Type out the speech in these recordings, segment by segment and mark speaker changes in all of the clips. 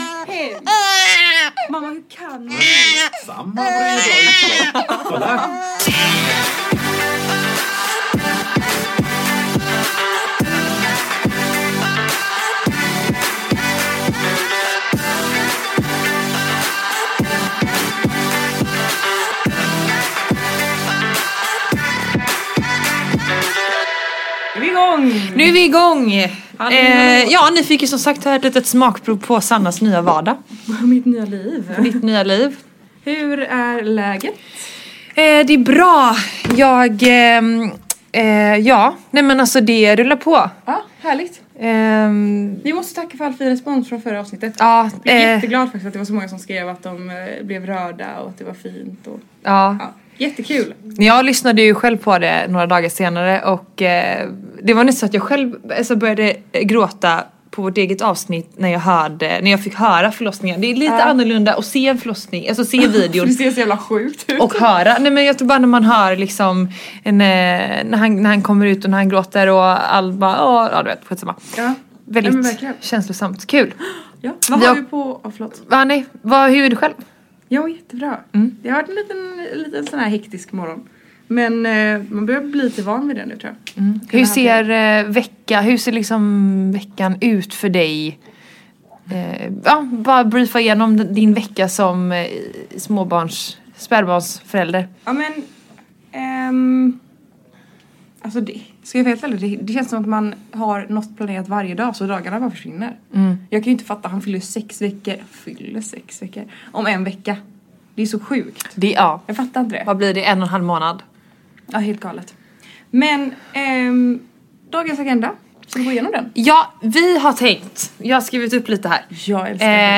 Speaker 1: hem. Mamma, hur kan man?
Speaker 2: Samma vad det är idag. Kolla.
Speaker 1: Nu är vi igång!
Speaker 3: Nu är vi igång!
Speaker 1: ni har
Speaker 3: Eh, ja, ni fick ju som sagt här ett litet smakprov på Sannas nya vardag.
Speaker 1: Mitt nya liv.
Speaker 3: Ditt nya liv.
Speaker 1: Hur är läget?
Speaker 3: Eh, det är bra. Jag... ehm, eh, ja, nej men alltså det rullar på.
Speaker 1: Ja, härligt.
Speaker 3: Ehm,
Speaker 1: Vi måste tacka för all fin respons från förra avsnittet.
Speaker 3: ja,
Speaker 1: Jag är
Speaker 3: eh,
Speaker 1: jätteglad faktiskt att det var så många som skrev att de eh, blev rörda och att det var fint. Och,
Speaker 3: ja.
Speaker 1: ja. Jättekul!
Speaker 3: Jag lyssnade ju själv på det några dagar senare och eh, det var nästan så att jag själv alltså, började eh, gråta på vårt eget avsnitt när jag, hörde, när jag fick höra förlossningen. Det är lite
Speaker 1: Ja.
Speaker 3: annorlunda att se en förlossning, alltså se videon
Speaker 1: Det ser så jävla sjukt ut.
Speaker 3: och höra. Nej men jag tror bara när man hör liksom en, eh, när, han, när han kommer ut och när han gråter och all bara åh, ja du vet skitsamma.
Speaker 1: Ja.
Speaker 3: Väldigt
Speaker 1: Ja, men verkligen.
Speaker 3: känslosamt, kul.
Speaker 1: Ja. Vad
Speaker 3: Ja.
Speaker 1: har vi på... Oh, förlåt.
Speaker 3: Va, nej, vad, hur är du själv?
Speaker 1: Ja, jättebra.
Speaker 3: Mm.
Speaker 1: Det har varit en liten, liten sån här hektisk morgon. Men eh, man börjar bli lite van vid det nu tror jag.
Speaker 3: Hur ser eh, vecka, hur ser liksom veckan ut för dig? Eh, ja, bara briefa igenom d- din vecka som eh, småbarns, spädbarnsförälder.
Speaker 1: Ja men... ehm, alltså det... Ska jag vara helt ärlig, det, det känns som att man har något planerat varje dag så dagarna bara försvinner. Jag kan ju inte fatta, han fyller sex veckor. Fyller sex veckor? Om en vecka. Det är så sjukt.
Speaker 3: Det, ja.
Speaker 1: Jag fattar inte det.
Speaker 3: Vad blir det, en och en halv månad?
Speaker 1: Ja, helt galet. Men ehm, dagens agenda. Ska vi gå igenom den?
Speaker 3: Ja, vi har tänkt, jag har skrivit upp lite här.
Speaker 1: Jag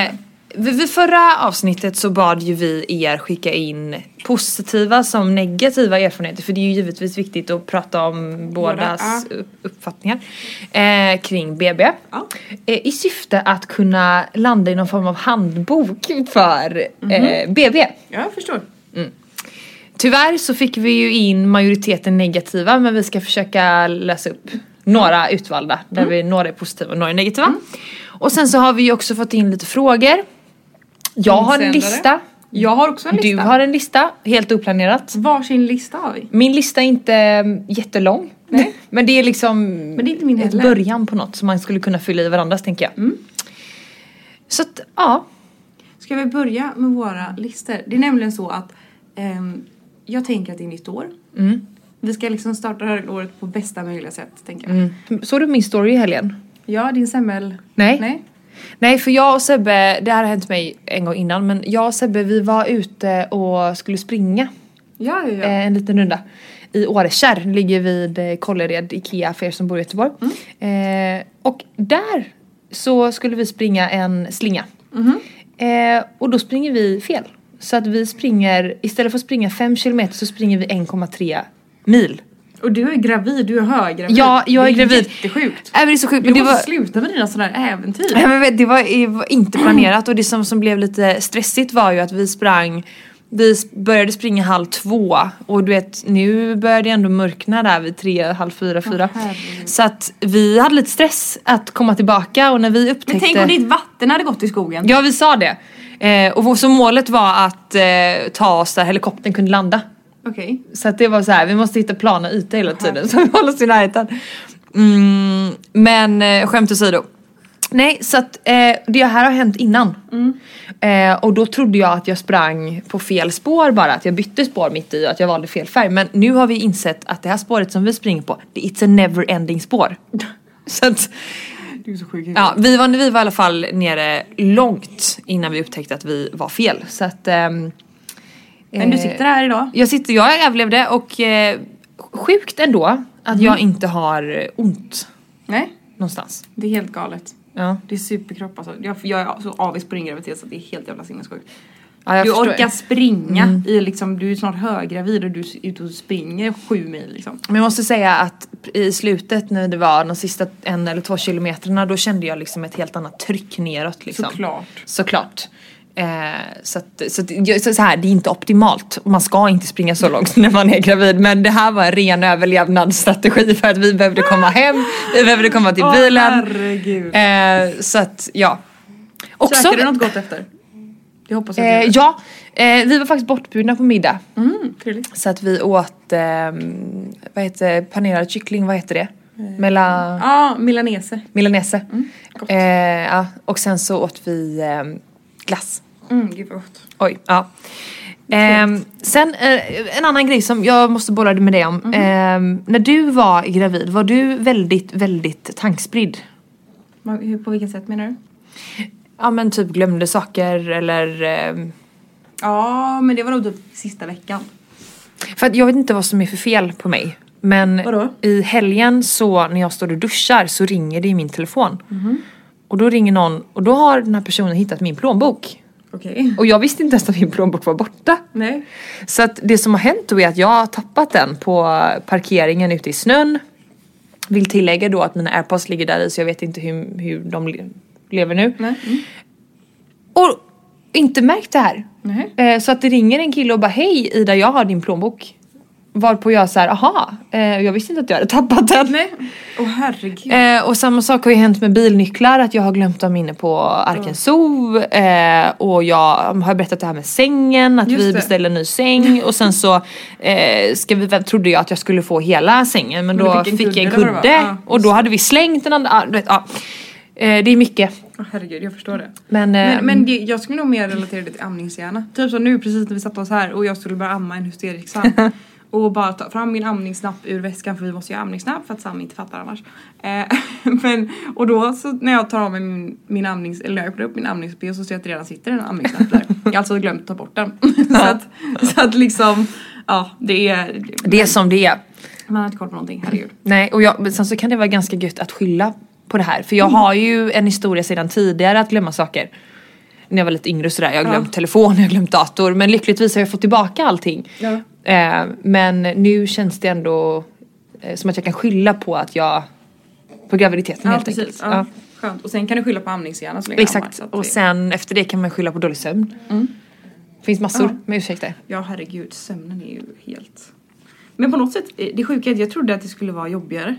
Speaker 3: Eh, vid vid förra avsnittet så bad ju vi er skicka in positiva som negativa erfarenheter för det är ju givetvis viktigt att prata om bådas upp- uppfattningar eh, kring BB.
Speaker 1: Ja.
Speaker 3: Eh, I syfte att kunna landa i någon form av handbok för eh, BB.
Speaker 1: Ja, jag förstår.
Speaker 3: Tyvärr så fick vi ju in majoriteten negativa men vi ska försöka läsa upp några utvalda där
Speaker 1: Mm.
Speaker 3: vi, några är positiva och några är negativa. Och sen så har vi ju också fått in lite frågor. Jag har en
Speaker 1: Insändare.
Speaker 3: lista.
Speaker 1: Jag har också en lista.
Speaker 3: Du har en lista, helt oplanerat.
Speaker 1: Varsin lista har vi.
Speaker 3: Min lista är inte mm, jättelång.
Speaker 1: Nej.
Speaker 3: Men det är liksom
Speaker 1: Men det är inte min
Speaker 3: ett
Speaker 1: heller. Mm.
Speaker 3: början på något som man skulle kunna fylla i varandras tänker jag. Så att, ja.
Speaker 1: Ska vi börja med våra listor? Det är nämligen så att ehm, jag tänker att det är nytt år.
Speaker 3: Mm.
Speaker 1: Vi ska liksom starta det här året på bästa möjliga sätt, tänker jag.
Speaker 3: Mm. Såg du min story i helgen?
Speaker 1: Ja, din semmel...
Speaker 3: Nej.
Speaker 1: Nej.
Speaker 3: Nej för jag och Sebbe, det här har hänt mig en gång innan men jag och Sebbe vi var ute och skulle springa
Speaker 1: Ja, ja, ja.
Speaker 3: eh, en liten runda i Årekärr, ligger vid eh, Kållered, Ikea för er som bor i Göteborg. Eh, och där så skulle vi springa en slinga. Eh, och då springer vi fel. Så att vi springer, istället för att springa 5 kilometer så springer vi 1,3 mil.
Speaker 1: Och du är gravid, du är höggravid.
Speaker 3: Ja, jag är
Speaker 1: Det
Speaker 3: gravid.
Speaker 1: jättesjukt.
Speaker 3: Äh, men det är så sjukt.
Speaker 1: Du
Speaker 3: Men det
Speaker 1: måste
Speaker 3: var,
Speaker 1: sluta med dina sådana här äventyr.
Speaker 3: Nej, men det var, det var inte planerat och det som, som blev lite stressigt var ju att vi sprang vi s- började springa halv två och du vet nu började det ändå mörkna där vid tre, halv fyra, fyra.
Speaker 1: herregud.
Speaker 3: så att vi hade lite stress att komma tillbaka och när vi upptäckte...
Speaker 1: Men tänk om ditt vatten hade gått i skogen.
Speaker 3: Ja vi sa det. Eh, och vår- så målet var att eh, ta oss där helikoptern kunde landa.
Speaker 1: Okej.
Speaker 3: Så att det var så här, vi måste hitta plana ytor hela tiden så vi håller oss i närheten. Mm, men eh, skämt åsido. Nej, så att eh, det här har hänt innan.
Speaker 1: Mm.
Speaker 3: Eh, och då trodde jag att jag sprang på fel spår bara, att jag bytte spår mitt i och att jag valde fel färg. Men nu har vi insett att det här spåret som vi springer på, det it's a never ending spår. Så att,
Speaker 1: Du är så sjuk i
Speaker 3: ja, vi var, vi var i alla fall nere långt innan vi upptäckte att vi var fel. Så att, ehm,
Speaker 1: Men du
Speaker 3: eh,
Speaker 1: sitter här idag.
Speaker 3: jag sitter, jag överlevde och eh, sjukt ändå att
Speaker 1: Mm.
Speaker 3: jag inte har ont
Speaker 1: Nej,
Speaker 3: någonstans.
Speaker 1: det är helt galet.
Speaker 3: Ja,
Speaker 1: Det är superkropp alltså. Jag, jag är så avis på din graviditet så att det är helt jävla sinnessjukt.
Speaker 3: ja jag
Speaker 1: Du
Speaker 3: förstår. Mm.
Speaker 1: orkar springa i liksom, du är snart höggravid och du är ute och springer sju mil liksom.
Speaker 3: Men jag måste säga att i slutet när det var de sista en eller två kilometrarna då kände jag liksom ett helt annat tryck neråt liksom.
Speaker 1: Såklart.
Speaker 3: Såklart. Eh, så att, så, att, jag- så, så här, det är inte optimalt. Man ska inte springa så långt när man är gravid men det här var en ren överlevnadsstrategi för att vi behövde komma hem, vi behövde komma till
Speaker 1: Åh,
Speaker 3: bilen.
Speaker 1: herregud.
Speaker 3: Eh, så att ja. Också,
Speaker 1: Käkade du något gott efter? Jag hoppas att
Speaker 3: Eh,
Speaker 1: du
Speaker 3: ja, eh, vi var faktiskt bortbjudna på middag.
Speaker 1: Mm, trevligt.
Speaker 3: Så att vi åt, ehm, vad heter panerad kyckling, vad heter det? Mela,
Speaker 1: Ja, milanese.
Speaker 3: milanese.
Speaker 1: gott.
Speaker 3: Eh, ja, och sen så åt vi ehm, glass.
Speaker 1: Mm, gud vad gott.
Speaker 3: Oj, ja. Ehm, sen eh, en annan grej som jag måste bolla med dig om. Ehm, när du var gravid, var du väldigt, väldigt tankspridd?
Speaker 1: Man, hur, på vilket sätt menar du?
Speaker 3: Ja men typ glömde saker eller... ehm,
Speaker 1: Ja, men det var nog typ sista veckan.
Speaker 3: För att jag vet inte vad som är för fel på mig. Men
Speaker 1: Vadå?
Speaker 3: i helgen så när jag står och duschar så ringer det i min telefon. Och då ringer någon och då har den här personen hittat min plånbok.
Speaker 1: Okej.
Speaker 3: Och jag visste inte ens att min plånbok var borta.
Speaker 1: Nej.
Speaker 3: Så att det som har hänt då är att jag har tappat den på parkeringen ute i snön. Vill tillägga då att mina airpods ligger där i så jag vet inte hur, hur de le- lever nu.
Speaker 1: Nej. Mm.
Speaker 3: Och inte märkt det här.
Speaker 1: Nej.
Speaker 3: Eh, Så att det ringer en kille och bara hej Ida jag har din plånbok. Varpå jag såhär aha, eh, jag visste inte att jag hade tappat den.
Speaker 1: Nej. Åh herregud.
Speaker 3: Eh, och samma sak har ju hänt med bilnycklar, att jag har glömt dem inne på Arkens zoo. Eh, och jag har berättat det här med sängen, att
Speaker 1: Just det.
Speaker 3: vi beställde en ny säng. Och sen så eh, ska vi, väl- trodde jag att jag skulle få hela sängen men
Speaker 1: Men
Speaker 3: då
Speaker 1: du fick en
Speaker 3: fick, jag en
Speaker 1: kudde eller
Speaker 3: kudde.
Speaker 1: vad det var? Ja,
Speaker 3: och då hade vi slängt den andra. Ah, du vet, ja. eh, det är mycket.
Speaker 1: Åh herregud, jag förstår det.
Speaker 3: Men, eh,
Speaker 1: Men, men det, jag skulle nog mer relatera det till amningshjärna. Typ som nu precis när vi satte oss här och jag skulle börja amma en hysterisk Sam. och bara ta fram min amningsnapp ur väskan för vi måste ju ha amningsnapp för att Sam inte fattar annars. Eh, men, och då så när jag tar av mig min, min amnings, eller när jag öppnar upp min amningsbh så ser jag att det redan sitter en amningsnapp där. Jag har alltså glömt ta bort den. så, att, så att liksom, ja det är,
Speaker 3: det är som det är.
Speaker 1: man har inte koll på någonting, herregud.
Speaker 3: Nej, och jag, men sen så kan det vara ganska gött att skylla på det här. För jag har ju en historia sedan tidigare att glömma saker. När jag var lite yngre och sådär. Jag har glömt telefon, jag har glömt dator. Men lyckligtvis har jag fått tillbaka allting.
Speaker 1: Ja.
Speaker 3: Eh, men nu känns det ändå eh, som att jag kan skylla på att jag... På graviditeten
Speaker 1: Ja
Speaker 3: helt
Speaker 1: precis.
Speaker 3: enkelt.
Speaker 1: Ja, Skönt. Och sen kan du skylla på amningshjärna så länge jag ammar,
Speaker 3: Exakt.
Speaker 1: så att
Speaker 3: Och
Speaker 1: det-
Speaker 3: sen efter det kan man skylla på dålig sömn. Finns massor
Speaker 1: Ja.
Speaker 3: med ursäkter.
Speaker 1: Ja herregud, sömnen är ju helt... Men på något sätt, eh, det sjuka är att jag trodde att det skulle vara jobbigare.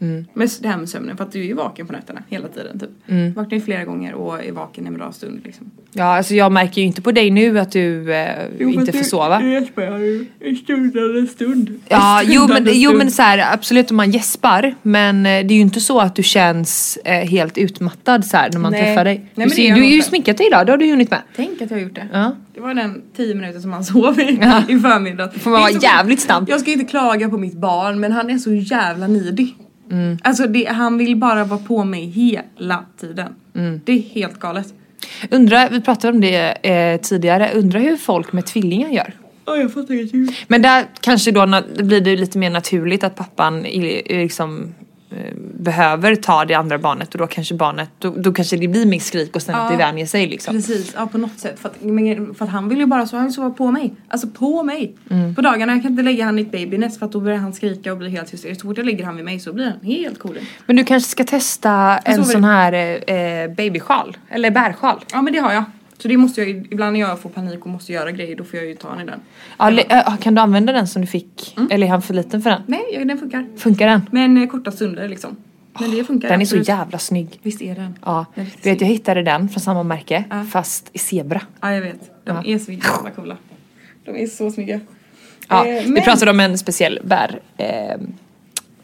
Speaker 1: Mm. Med s- det här med sömnen, för att du är ju vaken på nätterna hela tiden typ. Vaknar ju flera gånger och är vaken en bra stund liksom.
Speaker 3: Ja, alltså jag märker ju inte på dig nu att du eh, inte får sova.
Speaker 1: Du gäspar ju en stundande stund.
Speaker 3: Ja, jo men, jo, men så här, absolut om man gäspar men eh, det är ju inte så att du känns eh, helt utmattad så här, när man
Speaker 1: Nej.
Speaker 3: träffar dig.
Speaker 1: Nej,
Speaker 3: du
Speaker 1: men det
Speaker 3: ser,
Speaker 1: gör
Speaker 3: du
Speaker 1: jag
Speaker 3: är ju
Speaker 1: inte.
Speaker 3: sminkat dig idag, det har du hunnit med.
Speaker 1: Tänk att jag har gjort det.
Speaker 3: Ja.
Speaker 1: Det var den 10 minuter som han sov i, i förmiddag.
Speaker 3: Får man
Speaker 1: Det är
Speaker 3: vara
Speaker 1: så-
Speaker 3: jävligt snabb.
Speaker 1: Jag ska inte klaga på mitt barn men han är så jävla nidig.
Speaker 3: Mm.
Speaker 1: Alltså det, han vill bara vara på mig hela tiden.
Speaker 3: Mm.
Speaker 1: Det är helt galet.
Speaker 3: Undra, vi pratade om det eh, tidigare, undrar hur folk med tvillingar gör.
Speaker 1: Ja jag fattar ingenting.
Speaker 3: Men där kanske då na- blir det lite mer naturligt att pappan i- i- liksom eh, behöver ta det andra barnet och då kanske barnet, då, då kanske det blir mer skrik och sen att det
Speaker 1: Ja.
Speaker 3: vänjer sig liksom.
Speaker 1: Precis, ja på något sätt. För att, men, för att han vill ju bara så, han vill sova på mig. Alltså på mig!
Speaker 3: Mm.
Speaker 1: På dagarna, jag kan inte lägga han i ett babynest för att då börjar han skrika och blir helt hysterisk. Så fort jag lägger han vid mig så blir han helt cool.
Speaker 3: Men du kanske ska testa en
Speaker 1: sover-
Speaker 3: sån här eh, eh, babysjal, eller bärsjal.
Speaker 1: Ja men det har jag. Så det måste jag, ju- ibland när jag får panik och måste göra grejer då får jag ju ta han i den.
Speaker 3: Ja, le- äh, kan du använda den som du fick? Eller är han för liten för den?
Speaker 1: Nej, ja, den funkar.
Speaker 3: Funkar den?
Speaker 1: Men eh, korta stunder liksom. Men det funkar.
Speaker 3: Den är så
Speaker 1: absolut.
Speaker 3: jävla snygg.
Speaker 1: Visst är den?
Speaker 3: Ja,
Speaker 1: Den är
Speaker 3: du vet
Speaker 1: riktigt
Speaker 3: jag hittade den från samma märke
Speaker 1: Ja.
Speaker 3: fast i zebra.
Speaker 1: Ja jag vet. De är så jävla coola. De är så snygga.
Speaker 3: Ja,
Speaker 1: Eh,
Speaker 3: Vi pratade om en speciell bär... Eh,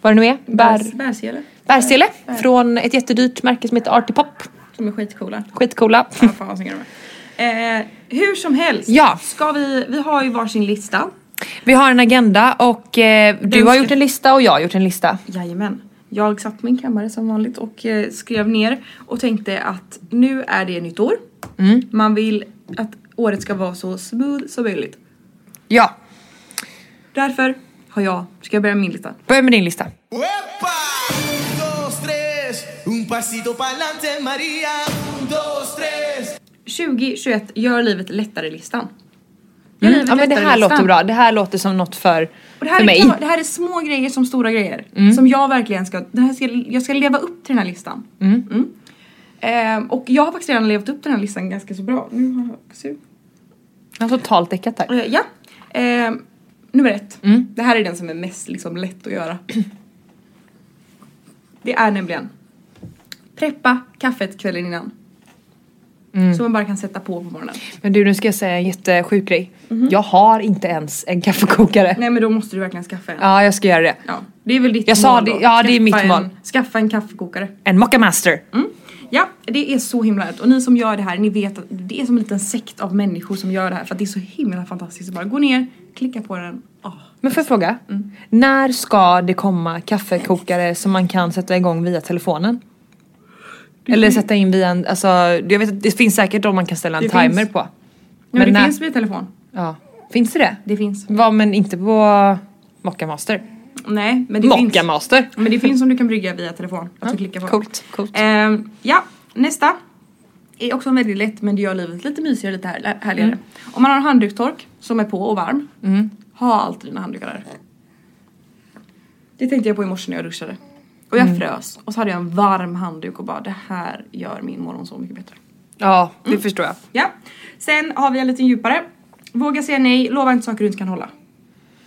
Speaker 3: vad det nu är? Bär,
Speaker 1: Bärs- Bärsele.
Speaker 3: bärsele från ett jättedyrt märke som heter Artipop.
Speaker 1: De är skitcoola.
Speaker 3: Skitcoola.
Speaker 1: Ja, fan vad snygga de är. Eh, hur som helst.
Speaker 3: Ja.
Speaker 1: Ska vi, vi har ju varsin lista.
Speaker 3: Vi har en agenda och eh, du
Speaker 1: Den
Speaker 3: har
Speaker 1: ska-
Speaker 3: gjort en lista och jag har gjort en lista.
Speaker 1: Jajamän. Jag satt på min kammare som vanligt och eh, skrev ner och tänkte att nu är det nytt år.
Speaker 3: Mm.
Speaker 1: Man vill att året ska vara så smooth som möjligt.
Speaker 3: Ja,
Speaker 1: Därför har jag, ska jag börja med min lista?
Speaker 3: börja med din lista.
Speaker 2: ¡Uepa! Un, dos, tres, un pasito para adelante, María. Un, dos, tres.
Speaker 1: 2021 gör livet lättare-listan. Gör
Speaker 3: Mm.
Speaker 1: livet
Speaker 3: Ja, men det här
Speaker 1: lättare-listan.
Speaker 3: låter bra. Det här låter som något för,
Speaker 1: Och det, här
Speaker 3: för
Speaker 1: är,
Speaker 3: mig.
Speaker 1: kan
Speaker 3: Mm.
Speaker 1: vara- det här är små grejer som stora grejer. Som jag verkligen ska, det här ska, jag ska leva upp till den här listan. Mm. Ehm, och jag har faktiskt redan levt upp till den här listan ganska så bra. Nu har jag sug.
Speaker 3: Jag har totalt däckat här.
Speaker 1: Eh, ja. Ehm, nummer ett.
Speaker 3: Mm.
Speaker 1: Det här är den som är mest liksom, lätt att göra. Det är nämligen Preppa kaffet kvällen innan.
Speaker 3: Mm.
Speaker 1: Som man bara kan sätta på på morgonen.
Speaker 3: Men du, nu ska jag säga en jättesjuk grej.
Speaker 1: Mhm.
Speaker 3: Jag har inte ens en kaffekokare.
Speaker 1: Nej men då måste du verkligen skaffa en.
Speaker 3: Ja, jag ska göra det.
Speaker 1: Ja, det är väl ditt
Speaker 3: Jag
Speaker 1: mål
Speaker 3: sa
Speaker 1: då.
Speaker 3: det- ja, det är
Speaker 1: Skaffa
Speaker 3: mitt
Speaker 1: en,
Speaker 3: mål.
Speaker 1: Skaffa en kaffekokare.
Speaker 3: En Mocha Master.
Speaker 1: Mm. Ja, det är så himla rätt. Och ni som gör det här, ni vet att det är som en liten sekt av människor som gör det här för att det är så himla fantastiskt. Så bara gå ner, klicka på den. Ah.
Speaker 3: Men får jag fråga?
Speaker 1: Mm.
Speaker 3: När ska det komma kaffekokare som man kan sätta igång via telefonen? Eller sätta in via en, alltså jag vet att det finns säkert de man kan ställa en
Speaker 1: Det
Speaker 3: timer
Speaker 1: finns.
Speaker 3: på.
Speaker 1: Men, men det
Speaker 3: när-
Speaker 1: finns via telefon.
Speaker 3: Ja. Finns det det?
Speaker 1: Det finns.
Speaker 3: Va, men inte på Mocha Master?
Speaker 1: Nej, men det
Speaker 3: Mocha
Speaker 1: finns.
Speaker 3: Master!
Speaker 1: Men det finns om du kan brygga via telefon. Att du
Speaker 3: Ja,
Speaker 1: klickar på
Speaker 3: coolt, coolt.
Speaker 1: Ehm, ja, nästa. Är också väldigt lätt men det gör livet lite mysigare, lite här, härligare. Om man har en handduktork som är på och varm. Ha alltid dina handdukar där. Det tänkte jag på i morse när jag duschade. Och jag frös och så hade jag en varm handduk och bara det här gör min morgon så mycket bättre.
Speaker 3: Ja, det
Speaker 1: mm.
Speaker 3: förstår jag.
Speaker 1: Ja. Sen har vi en lite djupare. Våga säga nej, lova inte saker du inte kan hålla.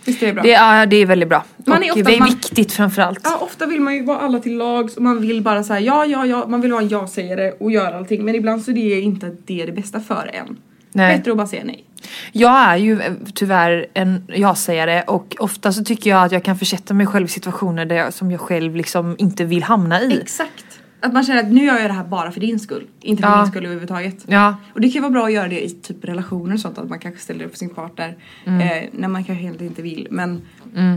Speaker 1: Visst är det bra?
Speaker 3: Det är, det är väldigt bra.
Speaker 1: Man är
Speaker 3: och
Speaker 1: ofta-
Speaker 3: det är
Speaker 1: man-
Speaker 3: viktigt framförallt.
Speaker 1: Ja, ofta vill man ju vara alla till lags och man vill bara säga ja, ja, ja, man vill vara en ja-sägare och göra allting men ibland så är det inte att det är det bästa för en.
Speaker 3: Nej.
Speaker 1: Bättre att bara säga nej.
Speaker 3: Jag är ju eh, tyvärr en ja-sägare och ofta så tycker jag att jag kan försätta mig själv i situationer där jag, som jag själv liksom inte vill hamna i.
Speaker 1: Exakt. Att man känner att nu gör jag det här bara för din skull, inte för
Speaker 3: Ja.
Speaker 1: min skull överhuvudtaget.
Speaker 3: Ja.
Speaker 1: Och det kan ju vara bra att göra det i typ relationer och sånt att man kanske ställer upp för sin partner
Speaker 3: Mm.
Speaker 1: eh, när man kanske helt inte vill men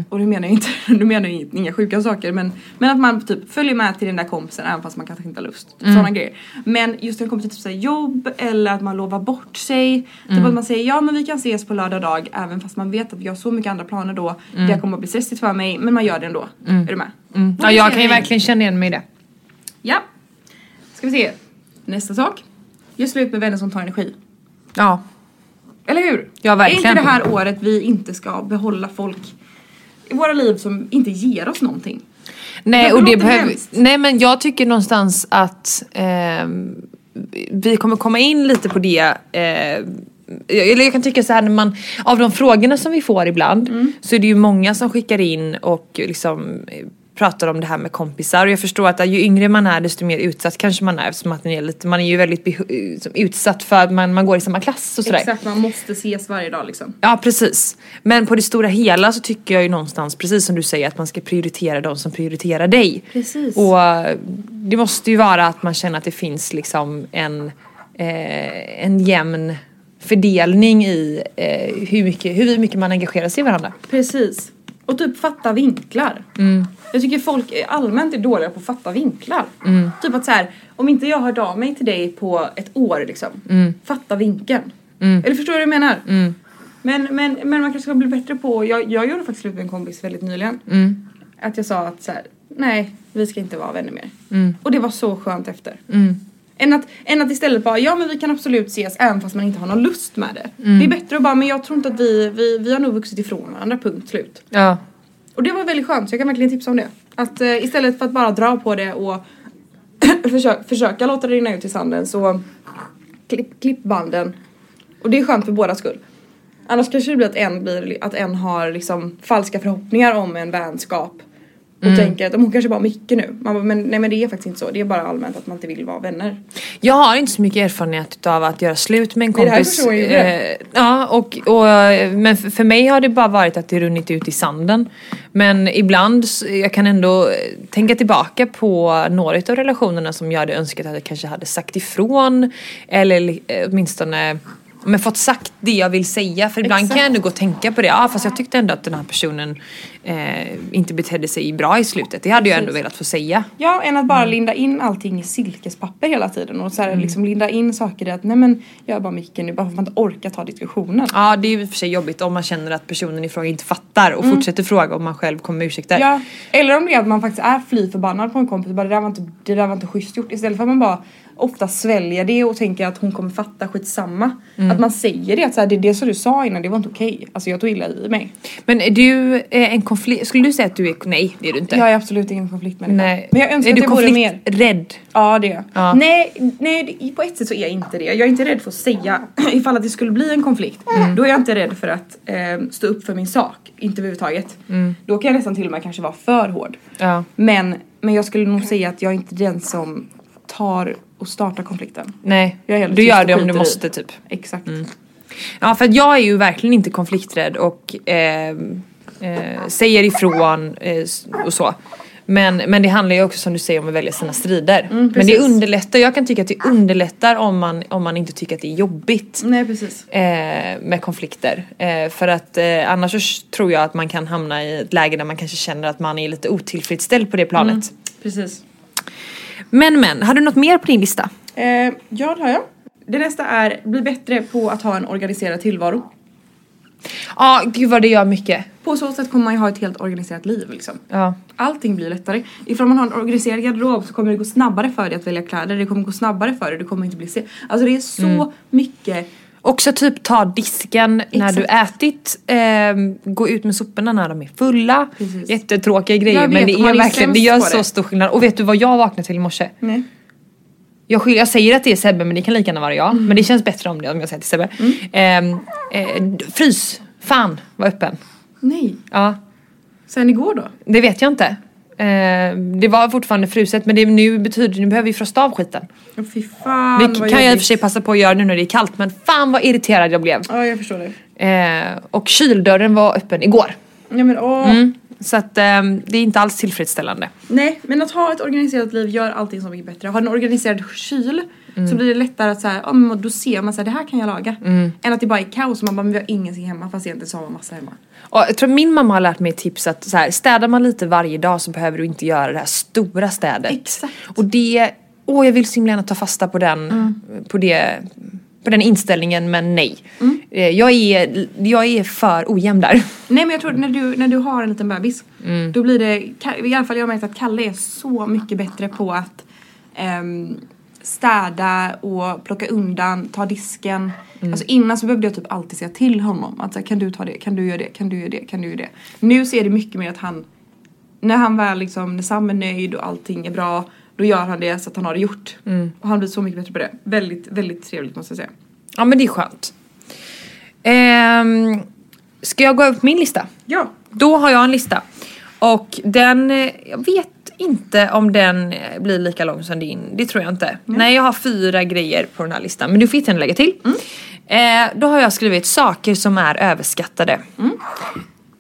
Speaker 1: och du menar jag inte, du menar ju inga sjuka saker men, men att man typ följer med till den där kompisen även fast man kanske inte har lust. Typ
Speaker 3: Mm.
Speaker 1: Sådana grejer. Men just när det kommer till typ så här jobb eller att man lovar bort sig.
Speaker 3: Mm.
Speaker 1: Typ att man säger ja men vi kan ses på lördag dag även fast man vet att vi har så mycket andra planer då. Det kommer att bli stressigt för mig men man gör det ändå. Är du med?
Speaker 3: Mm. Ja, jag kan ju verkligen känna igen mig i det.
Speaker 1: Ja. Ska vi se. Nästa sak. Gör slut med vänner som tar energi.
Speaker 3: Ja.
Speaker 1: Eller hur?
Speaker 3: Ja, verkligen.
Speaker 1: Är inte det här året vi inte ska behålla folk i våra liv som inte ger oss någonting?
Speaker 3: Nej,
Speaker 1: Det
Speaker 3: och det
Speaker 1: låter
Speaker 3: behöver,
Speaker 1: hemskt.
Speaker 3: nej men jag tycker någonstans att ehm, vi kommer komma in lite på det eh, eller jag kan tycka så här när man, av de frågorna som vi får ibland
Speaker 1: Mm.
Speaker 3: så är det ju många som skickar in och liksom eh, pratar om det här med kompisar och jag förstår att eh, ju yngre man är desto mer utsatt kanske man är eftersom att man är, lite, man är ju väldigt beho- eh, som utsatt för att man, man går i samma klass och sådär.
Speaker 1: Exakt, man måste ses varje dag liksom.
Speaker 3: Ja precis. Men på det stora hela så tycker jag ju någonstans, precis som du säger, att man ska prioritera de som prioriterar dig.
Speaker 1: Precis.
Speaker 3: Och eh, det måste ju vara att man känner att det finns liksom en, eh, en jämn fördelning i eh, hur, mycket, hur mycket man engagerar sig i varandra.
Speaker 1: Precis. Och typ fatta vinklar. Jag tycker folk är allmänt är dåliga på att fatta vinklar. Typ att så här, om inte jag hörde av mig till dig på ett år liksom. Fatta vinkeln. Eller förstår du vad jag menar? Men, men, men man kanske ska bli bättre på, jag, jag gjorde faktiskt slut med en kompis väldigt nyligen. Att jag sa att så här, nej vi ska inte vara vänner mer. Och det var så skönt efter. Än att, än att istället bara, ja men vi kan absolut ses även fast man inte har någon lust med det. Det är bättre att bara, men jag tror inte att vi, vi, vi har nog vuxit ifrån varandra, punkt slut.
Speaker 3: Ja.
Speaker 1: Och det var väldigt skönt så jag kan verkligen tipsa om det. Att eh, istället för att bara dra på det och försöka, försöka låta det rinna ut i sanden så klipp, klipp banden. Och det är skönt för båda skull. Annars kanske det blir att en, blir, att en har liksom falska förhoppningar om en vänskap. Och tänker att "Men hon kanske bara har mycket nu. Man bara, men, nej men det är faktiskt inte så. Det är bara allmänt att man inte vill vara vänner.
Speaker 3: Jag har inte så mycket erfarenhet utav att göra slut med en
Speaker 1: Nej, det här
Speaker 3: kompis.
Speaker 1: förstår jag ju
Speaker 3: eh, ja, och, och, eh, men för, för mig har det bara varit att det runnit ut i sanden. Men ibland, s- jag kan ändå eh, tänka tillbaka på några av relationerna som jag hade önskat att jag kanske hade sagt ifrån. Eller li- eh, åtminstone men fått sagt det jag vill säga för ibland kan jag
Speaker 1: Exakt.
Speaker 3: ändå gå och tänka på det. Ja fast jag tyckte ändå att den här personen eh, inte betedde sig bra i slutet. Det hade jag ändå
Speaker 1: Precis.
Speaker 3: velat få säga.
Speaker 1: Ja, än att bara
Speaker 3: Mm.
Speaker 1: linda in allting i silkespapper hela tiden och så här, liksom linda in saker i att nej men jag är bara mycket nu bara för att man inte orkar ta diskussionen.
Speaker 3: Ja det är ju i och för sig jobbigt om man känner att personen i fråga inte fattar och fortsätter fråga om man själv kommer med ursäkter.
Speaker 1: Mm. Ja, eller om det är att man faktiskt är fly förbannad på en kompis bara det där var inte, det där var inte schysst gjort istället för att man bara ofta sväljer det och tänker att hon kommer fatta skitsamma.
Speaker 3: Mm.
Speaker 1: Att man säger det att så här, det är det som du sa innan det var inte okej. Alltså jag tog illa i mig.
Speaker 3: Men är du eh, en konflikt, skulle du säga att du är, nej det är du inte.
Speaker 1: Jag är absolut ingen konfliktmänniska.
Speaker 3: nej.
Speaker 1: Men jag önskar
Speaker 3: är
Speaker 1: att
Speaker 3: du
Speaker 1: jag vore mer.
Speaker 3: konflikträdd?
Speaker 1: Ja det är jag.
Speaker 3: Ja.
Speaker 1: Nej, nej det- på ett sätt så är jag inte det. Jag är inte rädd för att säga ifall att det skulle bli en konflikt. Då är jag inte rädd för att eh, stå upp för min sak. Inte överhuvudtaget. Då kan jag nästan till och med kanske vara för hård.
Speaker 3: Ja.
Speaker 1: Men, men jag skulle nog säga att jag är inte den som tar och starta konflikten.
Speaker 3: Nej,
Speaker 1: Jag är helt
Speaker 3: du
Speaker 1: tyst
Speaker 3: gör
Speaker 1: och
Speaker 3: det om du
Speaker 1: skiter i.
Speaker 3: måste typ.
Speaker 1: Exakt.
Speaker 3: Ja, för att jag är ju verkligen inte konflikträdd och eh, eh, säger ifrån eh, s- och så. Men, men det handlar ju också som du säger om att välja sina strider. men det
Speaker 1: Mm, precis.
Speaker 3: underlättar, jag kan tycka att det underlättar om man, om man inte tycker att det är jobbigt
Speaker 1: Nej precis.
Speaker 3: eh, med konflikter. Eh, för att eh, annars så s- tror jag att man kan hamna i ett läge där man kanske känner att man är lite otillfredsställd på det planet.
Speaker 1: Precis.
Speaker 3: Mm. Men men, har du något mer på din lista?
Speaker 1: Eh, ja det har jag. Det nästa är bli bättre på att ha en organiserad tillvaro.
Speaker 3: Ja, gud vad det gör mycket.
Speaker 1: På så sätt kommer man ju ha ett helt organiserat liv liksom.
Speaker 3: Ja.
Speaker 1: Allting blir lättare. Ifall man har en organiserad garderob så kommer det gå snabbare för dig att välja kläder. Det kommer gå snabbare för dig, du kommer inte bli sen. Alltså det är så
Speaker 3: Mm.
Speaker 1: mycket.
Speaker 3: Också typ ta disken när
Speaker 1: Exakt.
Speaker 3: du ätit, ehm, gå ut med soporna när de är fulla.
Speaker 1: Precis.
Speaker 3: Jättetråkiga grejer
Speaker 1: Jag vet,
Speaker 3: men det
Speaker 1: man
Speaker 3: är
Speaker 1: är
Speaker 3: verkligen, det
Speaker 1: sämst
Speaker 3: gör
Speaker 1: på
Speaker 3: så
Speaker 1: det.
Speaker 3: stor skillnad. Och vet du vad jag vaknade till i morse?
Speaker 1: Nej.
Speaker 3: Jag, skill- jag säger att det är Sebbe men det kan lika gärna vara jag.
Speaker 1: Mm.
Speaker 3: Men det känns bättre om det om jag säger till Sebbe. Ehm, eh, d- frys! Fan, var öppen.
Speaker 1: Nej.
Speaker 3: Ja,
Speaker 1: Sen igår då?
Speaker 3: det vet jag inte. Ehm, det var fortfarande fruset men det nu betyder, nu behöver vi frosta av skiten.
Speaker 1: Åh, Fy fan
Speaker 3: Det
Speaker 1: vad
Speaker 3: kan jag i och
Speaker 1: jobbigt.
Speaker 3: för sig passa på att göra nu när det är kallt men fan vad irriterad jag blev.
Speaker 1: Ja jag förstår det.
Speaker 3: Ehm, och kyldörren var öppen igår.
Speaker 1: Ja, men, åh.
Speaker 3: Mm. Så att ehm, det är inte alls tillfredsställande.
Speaker 1: Nej men att ha ett organiserat liv gör allting så mycket bättre. Har en organiserad kyl
Speaker 3: Mm.
Speaker 1: så blir det lättare att såhär, ja men då ser man såhär det här kan jag laga. Än att det bara är kaos och man bara men vi har ingenting hemma fast egentligen så har man massa hemma.
Speaker 3: Och jag tror min mamma har lärt mig ett tips att så här, städar man lite varje dag så behöver du inte göra det här stora städet.
Speaker 1: Exakt.
Speaker 3: Och det, åh jag vill så himla gärna ta fasta på den,
Speaker 1: Mm.
Speaker 3: på det, på den inställningen men nej.
Speaker 1: Mm.
Speaker 3: Eh, Jag, är, jag är för ojämn där.
Speaker 1: Nej men jag tror när du, när du har en liten bebis då blir det, Ka- i alla fall jag har märkt att Kalle är så mycket bättre på att ehm, städa och plocka undan, ta disken. Alltså innan så behövde jag typ alltid säga till honom att så här, kan du ta det, kan du göra det, kan du göra det, kan du göra det. Nu ser det mycket mer att han, när han väl liksom, när Sam är nöjd och allting är bra då gör han det så att han har det gjort. Och han blir så mycket bättre på det. Väldigt, väldigt trevligt måste jag säga.
Speaker 3: Ja men det är skönt. Ehm, ska jag gå över på min lista?
Speaker 1: Ja,
Speaker 3: Då har jag en lista. Och den, eh, jag vet inte om den eh, blir lika lång som din. Det tror jag inte. Nej jag har fyra grejer på den här listan. Men du får gärna lägga till. Eh, då har jag skrivit saker som är överskattade.